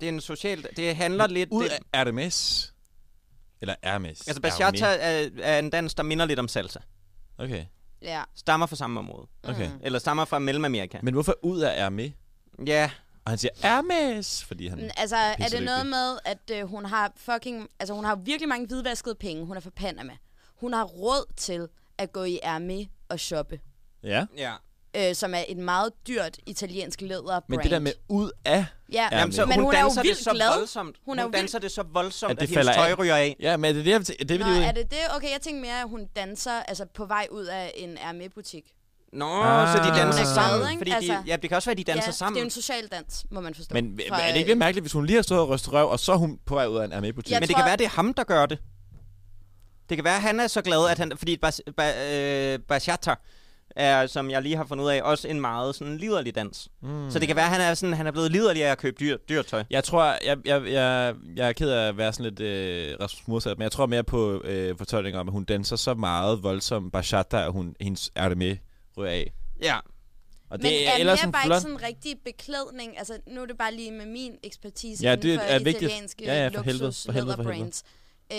[SPEAKER 5] Det er en social... Det handler lidt...
[SPEAKER 4] Ud
[SPEAKER 5] det,
[SPEAKER 4] af Hermes. Eller Hermes.
[SPEAKER 5] altså, bachata er, er en dans, der minder lidt om salsa.
[SPEAKER 4] Okay,
[SPEAKER 8] Ja.
[SPEAKER 5] Stammer fra samme område.
[SPEAKER 4] okay.
[SPEAKER 8] Mm.
[SPEAKER 5] Eller stammer fra Mellemamerika.
[SPEAKER 4] Men hvorfor ud af Hermes?
[SPEAKER 5] Ja,
[SPEAKER 4] Og han siger Hermes, fordi han...
[SPEAKER 8] Men Altså, er det
[SPEAKER 4] Pissedygtig.
[SPEAKER 8] noget med, at øh, hun har fucking... Altså, hun har virkelig mange hvidvaskede penge. Hun er fra Panama. Hun har råd til at gå i Hermé og shoppe.
[SPEAKER 4] Ja.
[SPEAKER 5] ja.
[SPEAKER 8] Øh, som er et meget dyrt italiensk læder
[SPEAKER 4] Men det der med ud af...
[SPEAKER 8] Ja,
[SPEAKER 4] Jamen, så
[SPEAKER 8] men hun, er jo
[SPEAKER 5] danser det
[SPEAKER 8] vildt
[SPEAKER 5] så
[SPEAKER 8] glad.
[SPEAKER 5] voldsomt.
[SPEAKER 8] Hun
[SPEAKER 5] Hun,
[SPEAKER 8] er
[SPEAKER 5] er
[SPEAKER 8] jo
[SPEAKER 5] hun danser det så voldsomt,
[SPEAKER 4] At
[SPEAKER 5] at,
[SPEAKER 4] det
[SPEAKER 5] det
[SPEAKER 4] falder
[SPEAKER 5] hendes
[SPEAKER 4] af.
[SPEAKER 5] tøj ryger af.
[SPEAKER 4] Ja, men er det det, det, det
[SPEAKER 8] Nå,
[SPEAKER 4] vil de
[SPEAKER 8] er det det? Okay, jeg tænkte mere, at hun danser altså, på vej ud af en Hermé-butik.
[SPEAKER 5] Nå,
[SPEAKER 4] Ah.
[SPEAKER 5] så de
[SPEAKER 4] Hun er
[SPEAKER 5] danser
[SPEAKER 4] glad,
[SPEAKER 5] sammen.
[SPEAKER 8] ikke?
[SPEAKER 5] Fordi
[SPEAKER 8] Altså.
[SPEAKER 5] de, ja, det kan også være, de danser
[SPEAKER 8] ja,
[SPEAKER 5] sammen.
[SPEAKER 8] det er jo en social dans, må man forstå.
[SPEAKER 4] Men
[SPEAKER 8] Fra,
[SPEAKER 4] er det ikke lidt mærkeligt, hvis hun lige har stået og rystet røv, og så er hun på vej ud af en Hermes-butik?
[SPEAKER 8] Jeg
[SPEAKER 5] Men det
[SPEAKER 8] tror-
[SPEAKER 5] kan være, det er ham, der gør det. Det kan være, han er så glad, at han... Fordi bas, ba, øh, bachata er, som jeg lige har fundet ud af, også en meget sådan liderlig dans. Mm. Så det kan være, han er sådan, han er blevet liderlig af at købe dyr, dyrtøj.
[SPEAKER 4] Jeg tror, jeg, jeg, jeg, jeg er ked af at være sådan lidt øh, Rasmus modsat, men jeg tror mere på øh, fortolkninger om, at hun danser så meget voldsom bachata, at hun, hendes er det med ryger af.
[SPEAKER 5] Ja.
[SPEAKER 4] Og
[SPEAKER 8] Men
[SPEAKER 4] det
[SPEAKER 8] er
[SPEAKER 4] ellers
[SPEAKER 8] mere
[SPEAKER 4] en
[SPEAKER 8] bare
[SPEAKER 4] flot-
[SPEAKER 8] ikke sådan en rigtig beklædning. Altså, nu er det bare lige med min ekspertise
[SPEAKER 4] Ja,
[SPEAKER 8] inden
[SPEAKER 4] det
[SPEAKER 8] for
[SPEAKER 4] er vigtigt.
[SPEAKER 8] italienske
[SPEAKER 4] Ja, ja, for helvede,
[SPEAKER 8] luksus
[SPEAKER 4] for helvede, for
[SPEAKER 8] brands. Øh,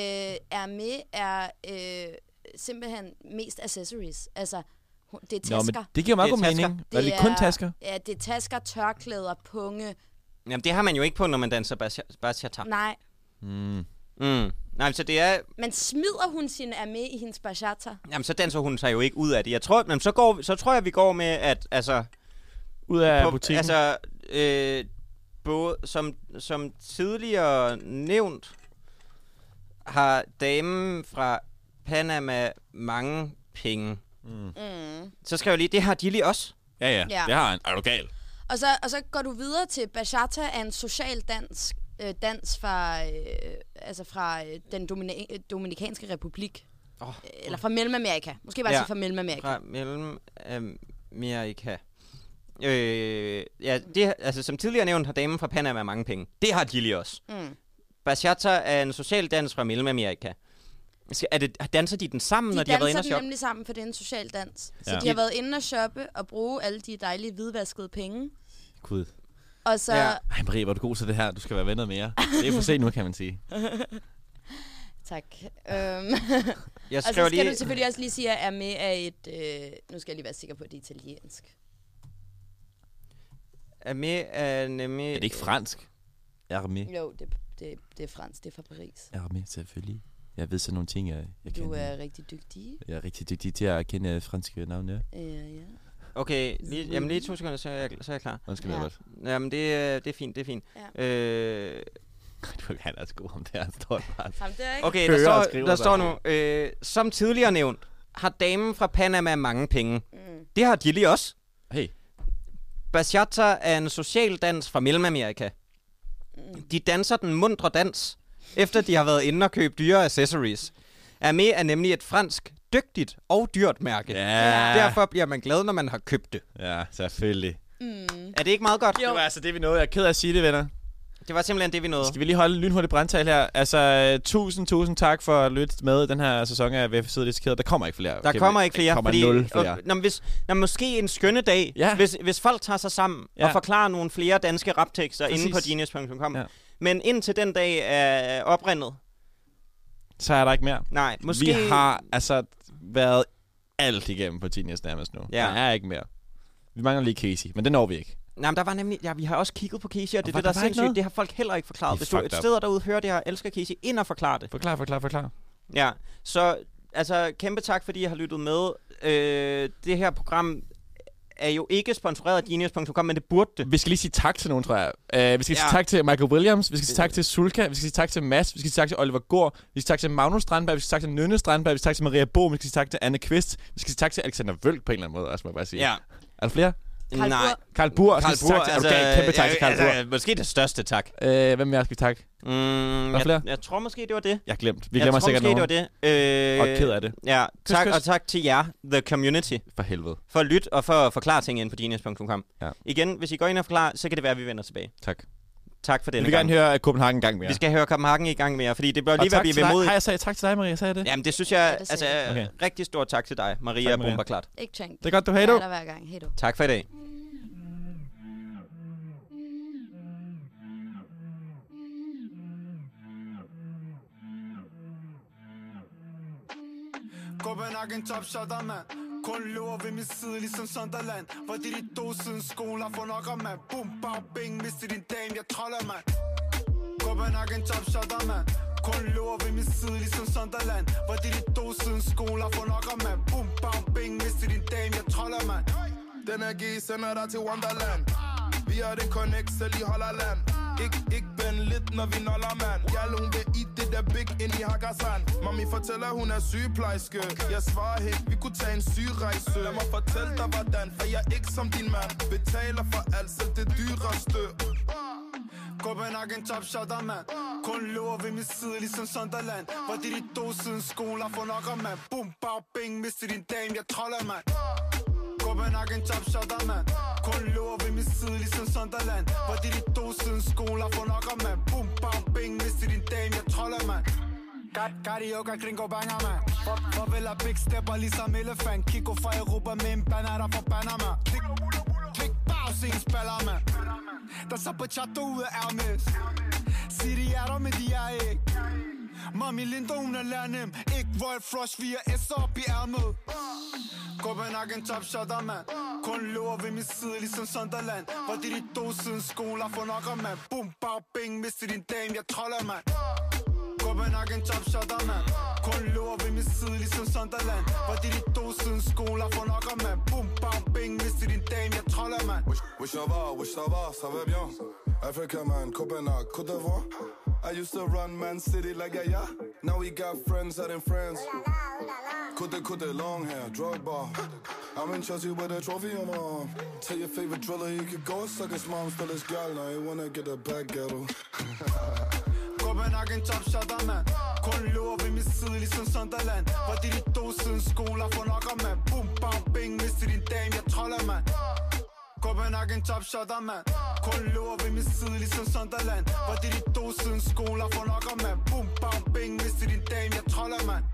[SPEAKER 8] Hermé er øh, simpelthen mest accessories. Altså, hun- det er tasker.
[SPEAKER 4] Nå, men det giver meget
[SPEAKER 5] Det
[SPEAKER 4] god
[SPEAKER 5] er tasker.
[SPEAKER 4] mening. Var det kun tasker?
[SPEAKER 8] Ja, det er tasker, tørklæder, punge.
[SPEAKER 5] Jamen, det har man jo ikke på, når man danser bacha- bachata.
[SPEAKER 8] Nej,
[SPEAKER 5] Mm. Nej, så det er...
[SPEAKER 8] men smider hun sin Hermé i hendes bachata?
[SPEAKER 5] Jamen, så danser hun sig jo ikke ud af det. Jeg tror, men så, går, vi- så tror jeg, vi går med, at... Altså,
[SPEAKER 4] Ud af
[SPEAKER 5] på-
[SPEAKER 4] butikken. Altså,
[SPEAKER 5] Altså, øh, både, som, som tidligere nævnt, har damen fra Panama mange penge.
[SPEAKER 8] Mm.
[SPEAKER 5] Så skrev jeg lige, det har de lige også.
[SPEAKER 4] Ja, ja.
[SPEAKER 8] Ja.
[SPEAKER 4] Det har han. Er du gal?
[SPEAKER 8] Og så, og så går du videre til bachata er en social dans, øh, dans fra, øh, altså fra øh, den domina- øh, dominikanske republik.
[SPEAKER 5] Åh.
[SPEAKER 8] Oh. Eller fra Mellemamerika. Måske bare
[SPEAKER 5] Ja.
[SPEAKER 8] ja. sige fra Mellemamerika.
[SPEAKER 5] Fra Mellemamerika. Øh, ja, det, altså, som tidligere nævnt har damen fra Panama mange penge. Det har de lige også.
[SPEAKER 8] Mm.
[SPEAKER 5] Bachata er en social dans fra Mellemamerika. Skal- Er det, danser de den sammen,
[SPEAKER 8] De
[SPEAKER 5] når de har været inde
[SPEAKER 8] danser
[SPEAKER 5] og
[SPEAKER 8] den
[SPEAKER 5] shoppe?
[SPEAKER 8] nemlig sammen, for det er en social dans. Så
[SPEAKER 4] Ja.
[SPEAKER 8] ja. de har været inde og shoppe og bruge alle de dejlige hvidvaskede penge.
[SPEAKER 4] Gud.
[SPEAKER 8] Og så,
[SPEAKER 5] Ja.
[SPEAKER 8] ja.
[SPEAKER 4] Ej, Marie, var du god til det her? Du skal være venner mere. Det er for sent nu, kan man sige.
[SPEAKER 8] tak. Øhm,
[SPEAKER 5] Jeg
[SPEAKER 8] og så
[SPEAKER 5] skrev
[SPEAKER 8] skal
[SPEAKER 5] lige...
[SPEAKER 8] du selvfølgelig også lige sige, at Amé er et... Øh, nu skal jeg lige være sikker på, at det er italiensk.
[SPEAKER 5] Amé er nemlig...
[SPEAKER 4] Er det ikke fransk? Armé.
[SPEAKER 8] Jo, det, det, det er fransk. Det er fra Paris.
[SPEAKER 4] Armé, selvfølgelig. Jeg ved sådan nogle ting, jeg, jeg
[SPEAKER 8] Du
[SPEAKER 4] kan.
[SPEAKER 8] er rigtig dygtig.
[SPEAKER 4] Jeg er rigtig dygtig til at kende franske navne.
[SPEAKER 8] Øh, ja.
[SPEAKER 5] Okay, lige, jamen lige to sekunder, så er jeg, så er jeg klar.
[SPEAKER 4] Undskyld,
[SPEAKER 8] Ja.
[SPEAKER 4] ja. Albert.
[SPEAKER 5] Jamen, det, er- det er fint, det er fint. Ja. Øh,
[SPEAKER 4] Du han er så god om det her. Han står bare.
[SPEAKER 8] Ham der, ikke?
[SPEAKER 5] okay,
[SPEAKER 4] Hører
[SPEAKER 5] der
[SPEAKER 4] og
[SPEAKER 5] står,
[SPEAKER 4] skriver
[SPEAKER 5] der
[SPEAKER 4] sig.
[SPEAKER 5] står nu... Øh, som tidligere nævnt, har damen fra Panama mange penge.
[SPEAKER 8] Mm.
[SPEAKER 5] Det har Gilly også.
[SPEAKER 4] Hey.
[SPEAKER 5] Bachata er en social dans fra Mellemamerika.
[SPEAKER 8] Mm.
[SPEAKER 5] De danser den mundre dans, efter de har været inde og købe dyre accessories. Amé er nemlig et fransk, dygtigt og dyrt mærke.
[SPEAKER 4] Ja.
[SPEAKER 5] Derfor bliver man glad, når man har købt det.
[SPEAKER 4] Ja, selvfølgelig.
[SPEAKER 8] Mm.
[SPEAKER 5] Er det ikke meget godt?
[SPEAKER 4] Det var altså det, vi nåede. Jeg er ked af at sige det, venner.
[SPEAKER 5] Det var simpelthen det, vi nåede.
[SPEAKER 4] Skal vi lige holde en lynhurtig brandtal her? Altså, øh, tusind, tusind tak for at lytte med i den her sæson af VFC Dissekeret. Der kommer ikke flere.
[SPEAKER 5] Der
[SPEAKER 4] Okay,
[SPEAKER 5] kommer ikke flere,
[SPEAKER 4] Der kommer
[SPEAKER 5] fordi,
[SPEAKER 4] nul flere.
[SPEAKER 5] Og, når, hvis, når måske en skønne dag,
[SPEAKER 4] Ja.
[SPEAKER 5] ja. hvis, hvis folk tager sig sammen ja.
[SPEAKER 4] Ja.
[SPEAKER 5] og forklarer nogle flere danske raptekster inde på
[SPEAKER 4] Præcis.
[SPEAKER 5] genius.com.
[SPEAKER 4] Ja.
[SPEAKER 5] Ja. Men indtil den dag er oprindet,
[SPEAKER 4] Så er der ikke mere.
[SPEAKER 5] nej, måske...
[SPEAKER 4] Måske... Vi har altså været alt igennem på Genius nærmest nu.
[SPEAKER 5] Ja.
[SPEAKER 4] Der er ikke mere. Vi mangler lige Casey, men den når vi ikke.
[SPEAKER 5] Nej, men der var nemlig... Ja, vi har også kigget på Casey, og
[SPEAKER 4] var-
[SPEAKER 5] det er det, der
[SPEAKER 4] der
[SPEAKER 5] er
[SPEAKER 4] var ikke
[SPEAKER 5] sindssygt.
[SPEAKER 4] noget?
[SPEAKER 5] Det har folk heller ikke
[SPEAKER 4] Det
[SPEAKER 5] forklaret.
[SPEAKER 4] er
[SPEAKER 5] Hvis du
[SPEAKER 4] fucked up.
[SPEAKER 5] sidder derude hører det her og elsker Casey, ind og forklar det.
[SPEAKER 4] Forklar, forklar, forklar.
[SPEAKER 5] Ja, så altså kæmpe tak, fordi I har lyttet med. Øh, det her program er jo ikke sponsoreret af genius.com, men det burde det.
[SPEAKER 4] Vi skal lige sige tak til nogen, tror jeg. Uh, vi skal sige
[SPEAKER 5] Ja. Øh.
[SPEAKER 4] tak til Michael Williams, vi skal sige tak til Sulka, vi skal sige tak til Mads, vi skal sige tak til Oliver Gård, vi skal sige tak til Magnus Strandberg, vi skal sige tak til Nynne Strandberg, vi skal sige tak til Maria Bo, vi skal sige tak til Anne Kvist, vi skal sige tak til Alexander Vølk på en eller anden måde, også må jeg bare sige.
[SPEAKER 5] Ja.
[SPEAKER 4] Er der flere?
[SPEAKER 8] Karl
[SPEAKER 5] Nej.
[SPEAKER 4] Karl Burr,
[SPEAKER 5] Karl
[SPEAKER 4] Karl Burr, tak til, altså, okay, kæmpe tak til Karl Burr.
[SPEAKER 5] Måske det største tak.
[SPEAKER 4] Øh, hvem mere skal vi takke?
[SPEAKER 5] Mm, der
[SPEAKER 4] flere?
[SPEAKER 5] jeg, jeg tror måske, det var det.
[SPEAKER 4] Jeg har glemt. Vi
[SPEAKER 5] jeg
[SPEAKER 4] glemmer
[SPEAKER 5] tror
[SPEAKER 4] sikkert
[SPEAKER 5] måske,
[SPEAKER 4] nogen.
[SPEAKER 5] det var det. Øh,
[SPEAKER 4] Og ked af det.
[SPEAKER 5] Ja,
[SPEAKER 4] Kys,
[SPEAKER 5] tak,
[SPEAKER 4] kys.
[SPEAKER 5] og tak til jer, the community,
[SPEAKER 4] For helvede.
[SPEAKER 5] for at lytte og for at forklare ting ind på dines.com.
[SPEAKER 4] Ja.
[SPEAKER 5] Igen, hvis I går ind og forklarer, så kan det være, at vi vender tilbage.
[SPEAKER 4] Tak.
[SPEAKER 5] Tak for
[SPEAKER 4] Vi
[SPEAKER 5] denne
[SPEAKER 4] vil
[SPEAKER 5] gang.
[SPEAKER 4] gerne høre Copenhagen en gang mere.
[SPEAKER 5] Vi skal høre Copenhagen i gang mere, fordi det bør
[SPEAKER 4] Og
[SPEAKER 5] lige være,
[SPEAKER 4] tak
[SPEAKER 5] at vi
[SPEAKER 4] til dig.
[SPEAKER 5] er ved
[SPEAKER 4] Har jeg sagt tak til dig, Maria? Sagde jeg det?
[SPEAKER 5] Jamen, det synes jeg,
[SPEAKER 8] Ja, det
[SPEAKER 5] altså,
[SPEAKER 8] sagde jeg.
[SPEAKER 5] okay. rigtig stor tak til dig, Maria
[SPEAKER 4] Tak, Maria.
[SPEAKER 5] Bomberklart.
[SPEAKER 8] Ikke tænkt.
[SPEAKER 4] Det er godt, du har
[SPEAKER 8] Jeg er
[SPEAKER 4] det.
[SPEAKER 8] der hver gang. Hej du.
[SPEAKER 5] Tak for i dag.
[SPEAKER 6] Copenhagen top shotter, mand Kun løber ved min side, ligesom Sunderland Hvor de de to siden skoler for nok om, mand Boom, bag, bing, mister din dame, jeg troller, mand Copenhagen top shotter, mand Kun løber ved min side, ligesom Sunderland Hvor de de to siden skoler for nok om, mand Boom, bag, bing, mister din dame, jeg troller, mand
[SPEAKER 13] Den her G sender dig til Wonderland Vi er det connect, selv i Hollerland Ik, ikke ben lidt, når vi noller, mand Jal, hun vil i det der big ind i Hakkasan Mami fortæller, hun er sygeplejerske Jeg svarer helt, vi kunne tage en sygerejse Lad mig fortælle dig, hvordan, for jeg er ikke som din mand Betaler for alt, selv det dyreste
[SPEAKER 6] Copenhagen top shotter, mand Kun løber ved min side, ligesom Sunderland Hvor de de to siden skoler for nok om, mand Boom, bag, bing, mister din dame, jeg troller, mand Copenhagen top shotter, mand Kun løber ved min side, ligesom Sunderland Hvor de de to siden skoler for nok om, mand Boom, bag, bing, mister din dame, jeg troller, mand Kat- Carioca, gringo banger, man For, Farvel og big stepper, ligesom elefant Kiko fra Europa med en banana fra Panama Klik, klik, bags, en spiller, man Der så på chatter ud af Hermes Sig de er der, men de er ikke Mami Linda, hun er lærnem Ikke Royal Flush, vi er S'er op i ærmet Copenhagen top shotter, man Kun løber ved min side, ligesom Sunderland Hvor de de to siden skoler for nok om, man Boom, bag, bing, mister din dame, jeg troller, man Copenhagen top shotter, mand Kun løber ved min side, ligesom Sunderland Hvor de de to siden skoler for nok om, mand Boom, bang, bing, mister din dame, jeg troller, mand
[SPEAKER 13] Wish, wish ça va, wish ça va, ça va bien. Africa man, Copenhague, Côte d'Ivoire. I used to run Man City like a yeah. Now we got friends out in France. Kutte kutte long hair, drug bar. I'm in Chelsea with a trophy on my arm. Tell your favorite driller he could go and suck his mom. Still his gal, now he wanna get a back ghetto.
[SPEAKER 6] Copenhagen top shotter, mand Kun løber ved min side, ligesom Sunderland Var det de to siden skoler for nokker, mand Boom, bang, bing, mister din dame, jeg troller, mand Copenhagen top shotter, mand Kun løber ved min side, ligesom Sunderland Var det de to siden skoler for nokker, mand Boom, bang, bing, mister din dame, jeg troller, mand